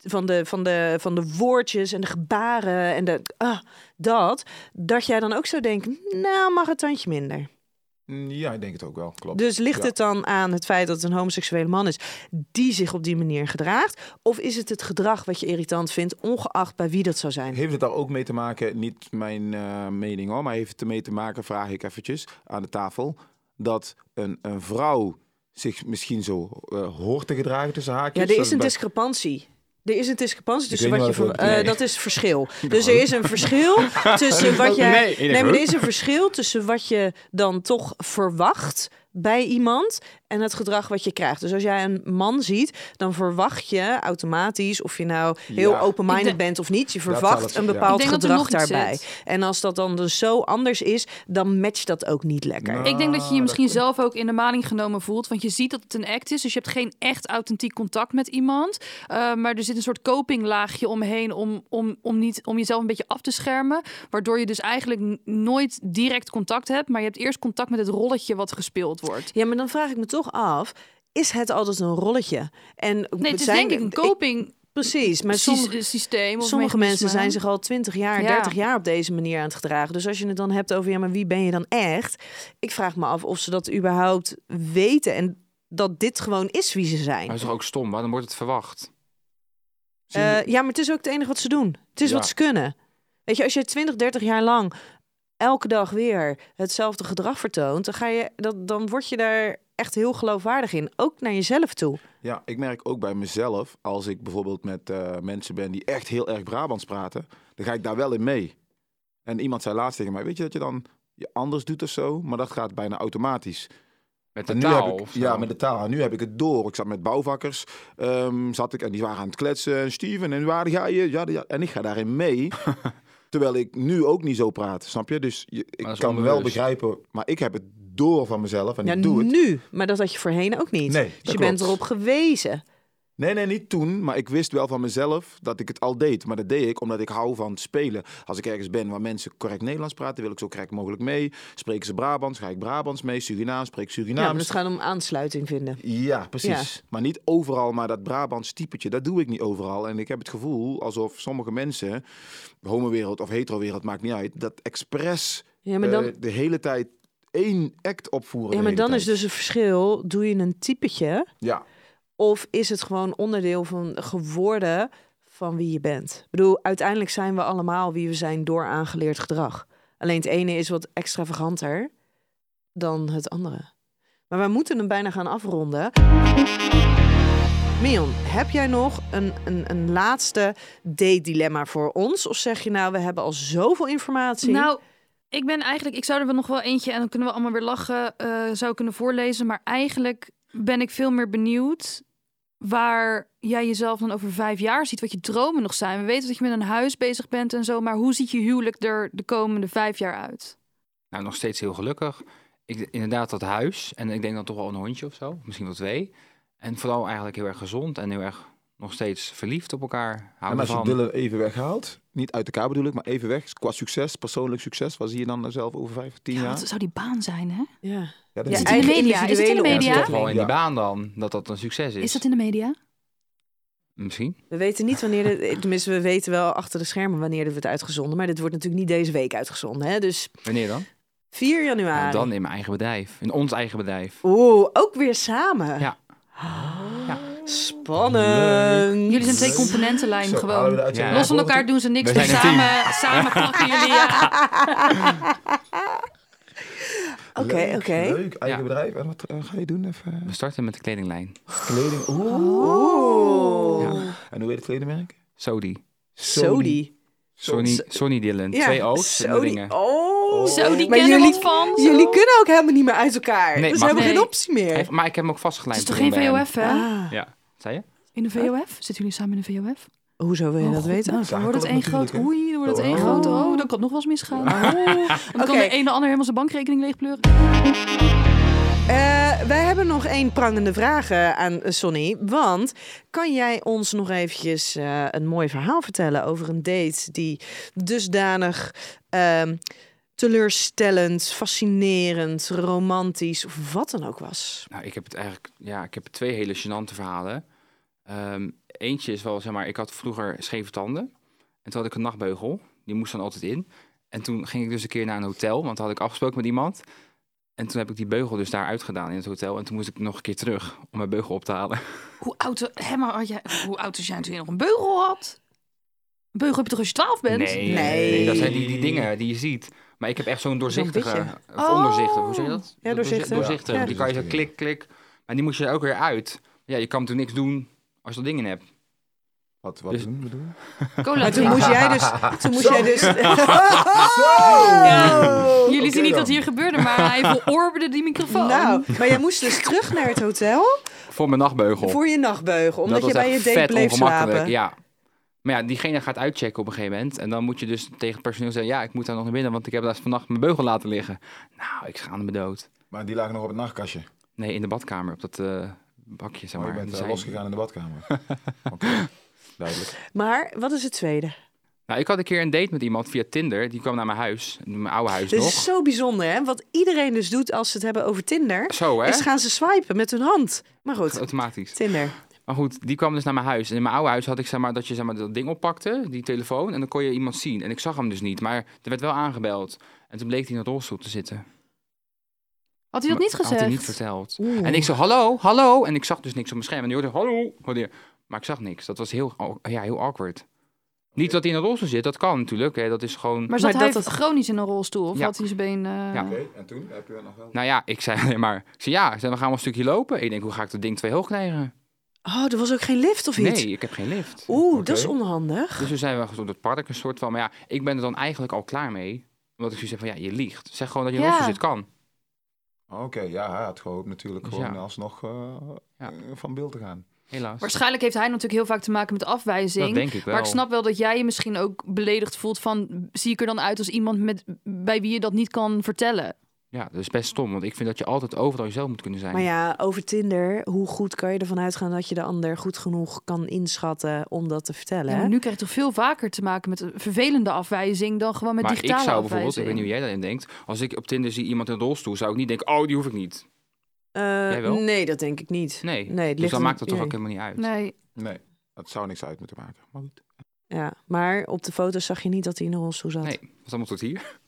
B: Van de, van, de, van de woordjes en de gebaren en de. ah, dat. Dat jij dan ook zou denken. Nou, mag het tandje minder.
E: mm, ja, ik denk het ook wel. Klopt.
B: Dus ligt
E: Ja.
B: het dan aan het feit dat het een homoseksuele man is die zich op die manier gedraagt? Of is het het gedrag wat je irritant vindt, ongeacht bij wie dat zou zijn?
E: Heeft het daar ook mee te maken, niet mijn eh, mening hoor, maar heeft het ermee te maken, vraag ik eventjes aan de tafel, dat een, een vrouw zich misschien zo eh, hoort te gedragen tussen
B: Ja,
E: haakjes?
B: er is
E: zoals
B: een
E: bij-
B: discrepantie. Er is een discrepantie tussen
E: weet
B: wat je...
E: niet waar
B: Van,
E: het over-
B: eh, dat is
E: [LAUGHS]
B: verschil. Dus er is een verschil tussen
E: Oh,
B: wat jij...
F: Nee, ik denk,
B: maar
F: huh?
B: er is een verschil tussen wat je dan toch verwacht bij iemand en het gedrag wat je krijgt. Dus als jij een man ziet, dan verwacht je automatisch, of je nou heel
E: Ja.
D: Ik
B: open-minded
D: denk-
B: bent of niet, je
E: zal het
B: verwacht
E: zijn,
B: een
E: ja.
B: bepaald
D: Ik denk dat er
B: gedrag
D: nog iets
B: daarbij. En als dat dan dus zo anders is, dan matcht dat ook niet lekker.
E: Nou,
D: Ik denk dat je je
E: Ah,
D: misschien zelf ook in de maling genomen voelt. Want je ziet dat het een act is. Dus je hebt geen echt authentiek contact met iemand. Eh, maar er zit een soort copinglaagje omheen om, om, om, niet, om jezelf een beetje af te schermen. Waardoor je dus eigenlijk n- nooit direct contact hebt. Maar je hebt eerst contact met het rolletje wat gespeeld wordt.
B: Ja, maar dan vraag ik me toch af, is het altijd een rolletje? En
D: Nee, het is
B: zijn-
D: denk ik een
B: ik-
D: coping
B: Precies, maar
D: sy-
B: sommige,
D: systeem. Of
B: sommige mensen zijn
D: zich
B: zich al 20 jaar,
D: Ja.
B: 30 jaar op deze manier aan het gedragen. Dus als je het dan hebt over, ja, maar wie ben je dan echt? Ik vraag me af of ze dat überhaupt weten en dat dit gewoon is wie ze zijn.
F: Maar dat is toch ook stom? Waarom wordt het verwacht?
E: Zien-
B: Eh, ja, maar het is ook het enige wat ze doen. Het is
E: Ja.
B: wat ze kunnen. Weet je, als je 20, 30 jaar lang elke dag weer hetzelfde gedrag vertoont, dan, ga je, dat, dan word je daar echt heel geloofwaardig in. Ook naar jezelf toe.
E: Ja, ik merk ook bij mezelf, als ik bijvoorbeeld met eh, mensen ben die echt heel erg Brabants praten, dan ga ik daar wel in mee. En iemand zei laatst tegen mij, weet je dat je dan je anders doet of zo, maar dat gaat bijna automatisch.
F: Met de
E: En nu
F: taal?
E: heb ik,
F: of zo?
E: ja, met de taal. En nu heb ik het door. Ik zat met bouwvakkers. ehm, zat ik, en die waren aan het kletsen. En Steven, en waar ga je? Ja, ja. En ik ga daarin
F: [LAUGHS]
E: mee. terwijl ik nu ook niet zo praat. Snap je? Dus je- ik
F: dat is
E: kan me wel
F: onbewust.
E: begrijpen. Maar ik heb het door van mezelf. En
B: Ja,
E: ik doe het.
B: nu, maar dat had je voorheen ook niet.
E: Nee,
B: dus je
E: dat
B: bent
E: klopt.
B: erop gewezen.
E: Nee, nee, niet toen. Maar ik wist wel van mezelf dat ik het al deed. Maar dat deed ik omdat ik hou van spelen. Als ik ergens ben waar mensen correct Nederlands praten, wil ik zo correct mogelijk mee. Spreken ze Brabants, ga ik Brabants mee. Surinaams, spreek
B: Ja, maar
E: Surinaams.
B: het gaat om aansluiting vinden.
E: Ja, precies. Maar niet overal, maar dat Brabants typetje, dat doe ik niet overal. En ik heb het gevoel alsof sommige mensen, homowereld of heterowereld, maakt niet uit, dat expres
B: Ja, maar
E: eh,
B: dan,
E: de hele tijd één act opvoeren.
B: ja,
E: de
B: maar
E: hele
B: dan is
E: tijd.
B: dus een verschil. Doe je een typetje
E: Ja,
B: Of is het gewoon onderdeel van geworden van wie je bent? Ik bedoel, uiteindelijk zijn we allemaal wie we zijn door aangeleerd gedrag. Alleen het ene is wat extravaganter dan het andere. Maar we moeten hem bijna gaan afronden. Mion, heb jij nog een, een, een laatste date-dilemma voor ons? Of zeg je nou, we hebben al zoveel informatie?
D: Nou, ik ben eigenlijk, ik zou er wel nog wel eentje en dan kunnen we allemaal weer lachen, eh, zou kunnen voorlezen. Maar eigenlijk ben ik veel meer benieuwd waar jij jezelf dan over vijf jaar ziet, wat je dromen nog zijn. We weten dat je met een huis bezig bent en zo, maar hoe ziet je huwelijk er de komende vijf jaar uit?
F: Nou, nog steeds heel gelukkig. Ik, inderdaad, dat huis. En ik denk dan toch wel een hondje of zo. Misschien wel twee. En vooral eigenlijk heel erg gezond en heel erg nog steeds verliefd op elkaar.
E: en
F: Houden
E: als je
F: van.
E: Dylan even weghaalt, niet uit elkaar bedoel ik, maar even weg, qua succes, persoonlijk succes, wat zie je dan zelf over vijf, tien
D: Ja,
E: jaar?
D: wat zou die baan zijn, hè?
B: ja.
E: Ja, dat
B: Ja,
E: is-
D: Is het in de
B: eigen
D: media? Is het in de
B: individuele
F: Ja,
D: media?
F: dat zit wel in die
E: Ja.
F: baan dan, dat dat een succes is.
D: Is dat in de media?
F: Misschien.
B: We weten niet wanneer dit, tenminste, we weten wel achter de schermen wanneer dit wordt uitgezonden. Maar dit wordt natuurlijk niet deze week uitgezonden. Hè? Dus
F: Wanneer dan?
B: 4 januari.
F: En dan in mijn eigen bedrijf. In ons eigen bedrijf.
B: Oeh, ook weer samen. Ah,
F: Ja.
B: Spannend.
D: Jullie zijn
B: [LAUGHS]
D: twee componentenlijn gewoon.
F: Ja.
D: Los van elkaar doen ze niks,
F: We
D: maar
F: zijn een team.
D: samen, samen pakken jullie. ja.
B: Oké, oké.
E: Leuk, eigen
F: Ja.
E: bedrijf. En wat eh, ga je doen? Even
F: We starten met de kledinglijn.
E: kleding.
B: Oh.
E: Oeh.
F: Ja.
E: En hoe heet het kledingmerk?
F: Sodi.
B: Sodi.
F: Sonny, Sonny Dylan. Twee O's. en
B: Sodi.
F: ringen.
B: Oh.
D: Zo, die
B: Maar
D: kennen
B: jullie,
D: wat van. zo.
B: jullie kunnen ook helemaal niet meer uit elkaar.
F: Nee,
B: dus we
F: maar-
B: hebben
D: Nee.
B: geen optie meer.
F: Hij heeft- Maar ik heb hem ook
D: Het
F: vastgelijmd.
D: is toch geen
F: toen bij hem.
D: VOF, hè?
B: Ah.
F: Ja. Zei je?
D: In de VOF? Zitten jullie samen in de VOF?
B: Hoezo wil je
D: Oh,
B: dat
D: god,
B: weten?
D: nou,
B: Oh.
D: Dan wordt het
E: Zakelijk
D: één groot
E: natuurlijk,
D: oei, dan wordt het één
B: Oh.
D: groot oh, dan kan het nog wel eens misgaan. Dan kan
B: Oké.
D: de een de ander helemaal zijn bankrekening leegpleuren.
B: Eh, wij hebben nog één prangende vraag eh, aan eh, Sonny. Want kan jij ons nog eventjes eh, een mooi verhaal vertellen over een date die dusdanig ehm, teleurstellend, fascinerend, romantisch of wat dan ook was?
F: Nou, ik heb het eigenlijk, ja, ik heb twee hele gênante verhalen. Ehm, eentje is wel, zeg maar, ik had vroeger scheve tanden. En toen had ik een nachtbeugel, die moest dan altijd in. En toen ging ik dus een keer naar een hotel, want had ik afgesproken met iemand. En toen heb ik die beugel dus daar uitgedaan in het hotel. En toen moest ik nog een keer terug om mijn beugel op te halen.
D: Hoe oud, hè, maar had jij, hoe oud was jij toen je nog een beugel had? Een beugel heb je toch als je 12 bent?
B: Nee.
F: dat zijn die, die dingen die je ziet. Maar ik heb echt zo'n doorzichtige,
B: Zo'n bitje.
F: of ondoorzichtige, hoe zeg je dat?
B: Ja, doorzichtig.
F: Doorzichtig,
B: Ja.
F: die kan je zo klik, klik. Maar die moest je er ook weer uit. Ja, je kan toen niks doen als je dat ding in hebt.
E: Wat, wat
F: Dus-
E: doen we doen?
D: Cola
B: Maar toen
D: drinken.
B: moest jij dus... Toen moest jij dus
D: Jullie zien niet
E: dan.
D: wat hier gebeurde, maar hij verorberde die microfoon.
B: Nou, maar jij moest dus terug naar het hotel
F: Voor mijn nachtbeugel.
B: voor je nachtbeugel. Omdat
F: dat
B: je
F: was
B: bij je
F: echt
B: date
F: vet
B: bleef
F: ongemakkelijk,
B: slapen.
F: Ja. Maar ja, diegene gaat uitchecken op een gegeven moment. En dan moet je dus tegen het personeel zeggen... ja, ik moet daar nog naar binnen, want ik heb daar vannacht mijn beugel laten liggen. Nou, ik schaamde me dood.
E: Maar die lagen nog op het nachtkastje.
F: Nee, in de badkamer, op dat eh, bakje, zeg
E: Maar
F: maar.
E: ik ben
F: Die
E: eh,
F: zijn-
E: losgegaan in de badkamer. Oké, duidelijk.
B: Maar wat is het tweede?
F: Nou, ik had een keer een date met iemand via Tinder. Die kwam naar mijn huis, mijn oude
B: [LAUGHS]
F: huis
B: Dit
F: nog.
B: is zo bijzonder, hè? Wat iedereen dus doet als ze het hebben over Tinder...
F: Zo, hè?
B: is gaan ze swipen met hun hand. Maar goed,
F: Automatisch.
B: [LAUGHS] Tinder.
F: Maar goed, die kwam dus naar mijn huis. En in mijn oude huis had ik zeg maar, dat je zeg maar, dat ding oppakte, die telefoon. En dan kon je iemand zien. En ik zag hem dus niet, maar er werd wel aangebeld. En toen bleek hij in een rolstoel te zitten.
D: Had hij dat niet gezegd?
F: Had hij niet verteld. En ik zei hallo, hallo. En ik zag dus niks op mijn scherm. En die hoorde hallo. hoorde je. Maar ik zag niks. Dat was heel, au- ja, heel awkward. Niet dat hij in een rolstoel zit, dat kan natuurlijk. Hè. Dat is gewoon...
D: Maar zat
B: Maar
D: hij
B: dat het-
D: chronisch in een rolstoel? Of
F: Ja.
D: had hij zijn been... eh,
F: Ja.
E: Oké, en toen heb je dat nog wel.
F: Nou ja, ik zei alleen maar... Ik zei, ja, ik zei, we gaan wel een stukje lopen. Ik denk, hoe ga ik dat ding twee hoog krijgen?
B: Oh, er was ook geen lift of iets?
F: Nee, ik heb geen lift.
B: Oeh,
E: Oké.
B: dat is onhandig.
F: Dus toen zijn we door het park een soort van... Maar ja, ik ben er dan eigenlijk al klaar mee. Omdat ik zoiets heb van, ja, je liegt. Zeg gewoon dat je in een
D: Ja.
F: rolstoel zit, kan.
E: Ah, Oké, ja, hij had gehoopt natuurlijk
F: Dus
E: gewoon
F: ja.
E: alsnog eh,
F: Ja.
E: eh, van beeld te gaan.
F: Helaas.
D: Waarschijnlijk heeft hij natuurlijk heel vaak te maken met afwijzing.
F: Dat denk ik wel.
D: Maar ik snap wel dat jij je misschien ook beledigd voelt van... zie ik er dan uit als iemand met, bij wie je dat niet kan vertellen?
F: Ja, dat is best stom. Want ik vind dat je altijd overal jezelf moet kunnen zijn.
B: Maar ja, over Tinder, hoe goed kan je ervan uitgaan... dat je de ander goed genoeg kan inschatten om dat te vertellen?
D: Ja,
B: hè?
D: maar nu krijg je toch veel vaker te maken met een vervelende afwijzing... dan gewoon met
F: maar ik
D: digitale
F: zou
D: afwijzing.
F: bijvoorbeeld, ik weet niet hoe jij daarin denkt, als ik op Tinder zie iemand in een rolstoel, zou ik niet denken, oh, die hoef ik niet.
B: Eh,
F: Jij wel?
B: nee, dat denk ik niet.
F: Nee,
B: nee het
F: dus
B: ligt
F: dan
B: er-
F: maakt dat toch
B: nee.
F: ook helemaal niet uit.
D: Nee,
E: Nee, dat zou niks uit moeten maken. Maar goed,
B: Ja, maar op de foto's zag je niet dat hij in een rolstoel zat.
F: Nee, was allemaal tot hier.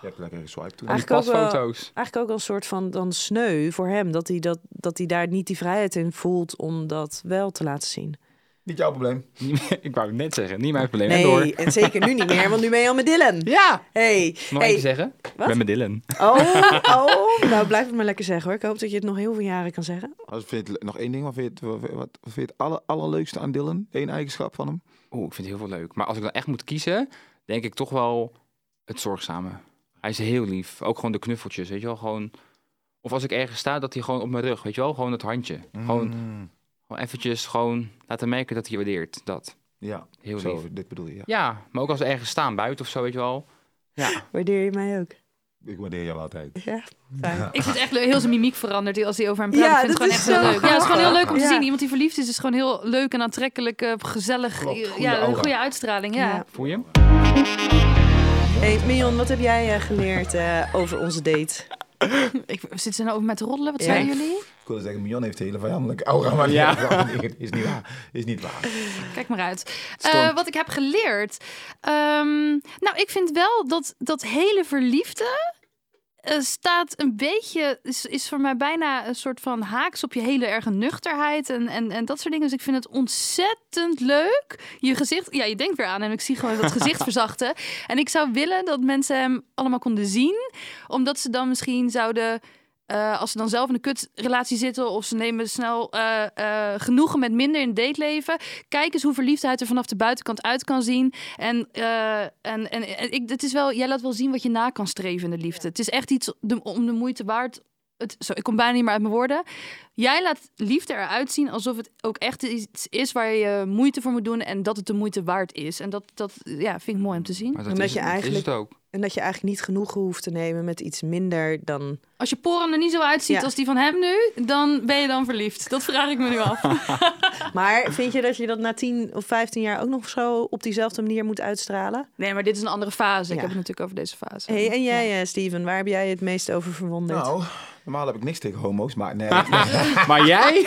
E: je hebt lekker geswiped toen.
F: Die
B: Eigenlijk ook wel-
F: pasfoto's. [LAUGHS]
B: Eigenlijk ook wel een soort van dan sneu voor hem dat hij, dat, dat hij daar niet die vrijheid in voelt om dat wel te laten zien.
E: Niet jouw probleem.
F: ik wou het net zeggen, niet mijn probleem. En door.
B: Nee, en zeker nu niet meer, want nu ben je al met Dylan.
F: Ja!
B: Hey,
F: Nog
B: hey.
F: even zeggen? Ik ben met Dylan.
B: Oh, oh, nou blijf het maar lekker zeggen hoor. Ik hoop dat je het nog heel veel jaren kan zeggen.
E: Als, vind je het le- nog één ding, wat vind je het, wat, wat vind je het aller, allerleukste aan Dylan? Eén eigenschap van hem?
F: Oeh, ik vind het heel veel leuk. Maar als ik dan echt moet kiezen, denk ik toch wel het zorgzame. Hij is heel lief. Ook gewoon de knuffeltjes, weet je wel. Gewoon, of als ik ergens sta, dat hij gewoon op mijn rug, weet je wel. Gewoon het handje. Gewoon,
E: Mm,
F: gewoon eventjes gewoon laten merken dat hij waardeert. Dat.
E: Ja,
F: Heel
E: zo,
F: lief.
E: dit bedoel je. Ja.
F: Ja, maar ook als we ergens staan, buiten of zo, weet je wel. Ja.
B: Waardeer je mij ook?
E: Ik waardeer jou altijd.
B: Ja, fijn.
D: ik vind echt leuk- heel zijn mimiek veranderd als hij over hem praat.
B: Ja,
D: ik vind
B: dat
D: het gewoon echt
B: is
D: heel
B: zo
D: leuk. Ja, het is gewoon heel leuk om te
B: grappig.
D: zien.
B: Ja.
D: Iemand die verliefd is, is gewoon heel leuk en aantrekkelijk, eh, gezellig.
E: Klopt, goede
D: ja, een
E: aura.
D: goede uitstraling, ja.
B: Ja.
F: Voel je hem?
B: Hey, Mion, wat heb jij eh, geleerd eh, over onze date?
D: Ik, zitten ze nou over mij te roddelen? Wat
B: Ja.
D: zeiden jullie?
E: Ik wilde zeggen, Mion heeft een hele vijandelijke aura, maar
F: Ja.
E: [LAUGHS] ja. is niet waar. Is niet
F: [LAUGHS]
E: waar.
D: Kijk maar uit.
E: Storm.
D: Eh, wat ik heb geleerd. Ehm, nou, ik vind wel dat dat hele verliefde. eh, eh, staat een beetje, is, is voor mij bijna een soort van haaks op je hele erge nuchterheid en, en, en dat soort dingen. Dus ik vind het ontzettend leuk. Je gezicht, ja, je denkt weer aan en ik zie gewoon dat gezicht verzachten. En ik zou willen dat mensen hem allemaal konden zien, omdat ze dan misschien zouden. eh, als ze dan zelf in een kutrelatie zitten of ze nemen snel eh, eh, genoegen met minder in het dateleven. Kijk eens hoe verliefdheid er vanaf de buitenkant uit kan zien. En, eh, en, en, en ik, het is wel, jij laat wel zien wat je na kan streven in de liefde. Het is echt iets de- om de moeite waard. Het, zo, ik kom bijna niet meer uit mijn woorden. Jij laat liefde eruit zien alsof het ook echt iets is waar je moeite voor moet doen. En dat het de moeite waard is. En dat, dat ja, vind ik mooi om te zien.
F: Maar dat
B: Omdat
F: is,
B: je
F: het- dat is
B: eigenlijk-
F: het ook.
B: En dat je eigenlijk niet genoegen hoeft te nemen met iets minder dan...
D: Als je poren er niet zo uitziet
B: Ja.
D: als die van hem nu, dan ben je dan verliefd. Dat vraag ik me nu
B: [LAUGHS]
D: af.
B: Maar vind je dat je dat na 10 of 15 jaar ook nog zo op diezelfde manier moet uitstralen?
D: Nee, maar dit is een andere fase. Ik
B: Ja.
D: heb het natuurlijk over deze fase.
B: Hey, en jij, eh, Steven, waar heb jij het meest over verwonderd?
E: Nou, normaal heb ik niks tegen homo's, maar
F: [LAUGHS]
E: nee.
F: Maar jij?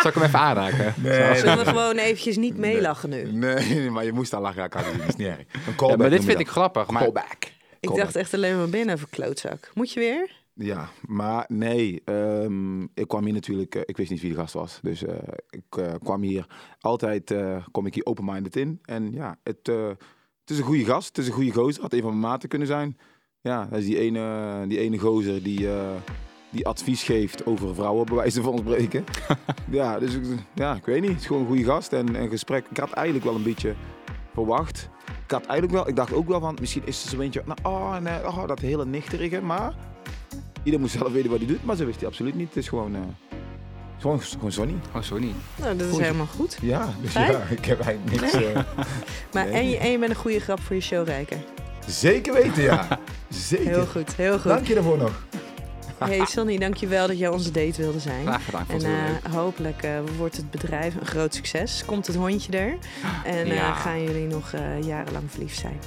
F: Zal ik hem even aanraken?
B: Zullen we gewoon eventjes niet meelachen nu?
E: nee, [LAUGHS] maar je moest al lachen, ik had het niet, is niet erg. Een
F: Ja,
E: callback
F: maar dit
E: noem
F: vind
E: je
F: ik grappig.
E: dat.
F: Maar
E: Callback.
B: Ik dacht echt alleen maar binnen voor klootzak. Moet je weer?
E: Ja, maar nee, ehm, ik kwam hier natuurlijk, eh, ik wist niet wie de gast was. Dus eh, ik eh, kwam hier, altijd eh, kom ik hier open-minded in. En ja, het, eh, het is een goede gast, het is een goede gozer, had een van mijn maten kunnen zijn. Ja, dat is die ene, die ene gozer die, eh, die advies geeft over vrouwen, bij wijze van spreken. ja, dus ik- ja, ik weet niet, het is gewoon een goede gast en een gesprek. Ik had eigenlijk wel een beetje verwacht. Ik had eigenlijk wel, ik dacht ook wel van, misschien is er zo'n beetje, nou, oh, nee, oh, dat hele nichterige, maar... Ieder moet zelf weten wat hij doet, maar zo wist hij absoluut niet. Het is gewoon, eh, gewoon, gewoon Sonny.
F: Oh, sorry.
B: Nou, dat is
E: Goed.
B: helemaal goed.
E: Ja, dus
B: Fijn.
E: ja, [LAUGHS] ik heb eigenlijk niks. eh,
B: Maar
E: Nee.
B: en, je, en je bent een goede grap voor je showrijker.
E: zeker weten, [LAUGHS] ja. Zeker.
B: Heel goed, heel goed.
E: Dank je daarvoor nog.
B: Hey Sonny, dankjewel dat jij onze date wilde zijn.
F: Graag gedaan. ik
B: En
F: Vond het heel
B: eh,
F: leuk.
B: hopelijk eh, wordt het bedrijf een groot succes. Komt het hondje er. En eh,
F: Ja.
B: gaan jullie nog eh, jarenlang verliefd zijn.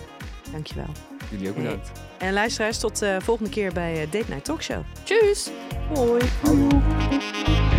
B: Dankjewel.
F: Jullie ook
B: hey.
F: bedankt.
B: En eh, luisteraars, tot de volgende keer bij eh, Date Night Talkshow.
D: Tjus!
B: Hoi.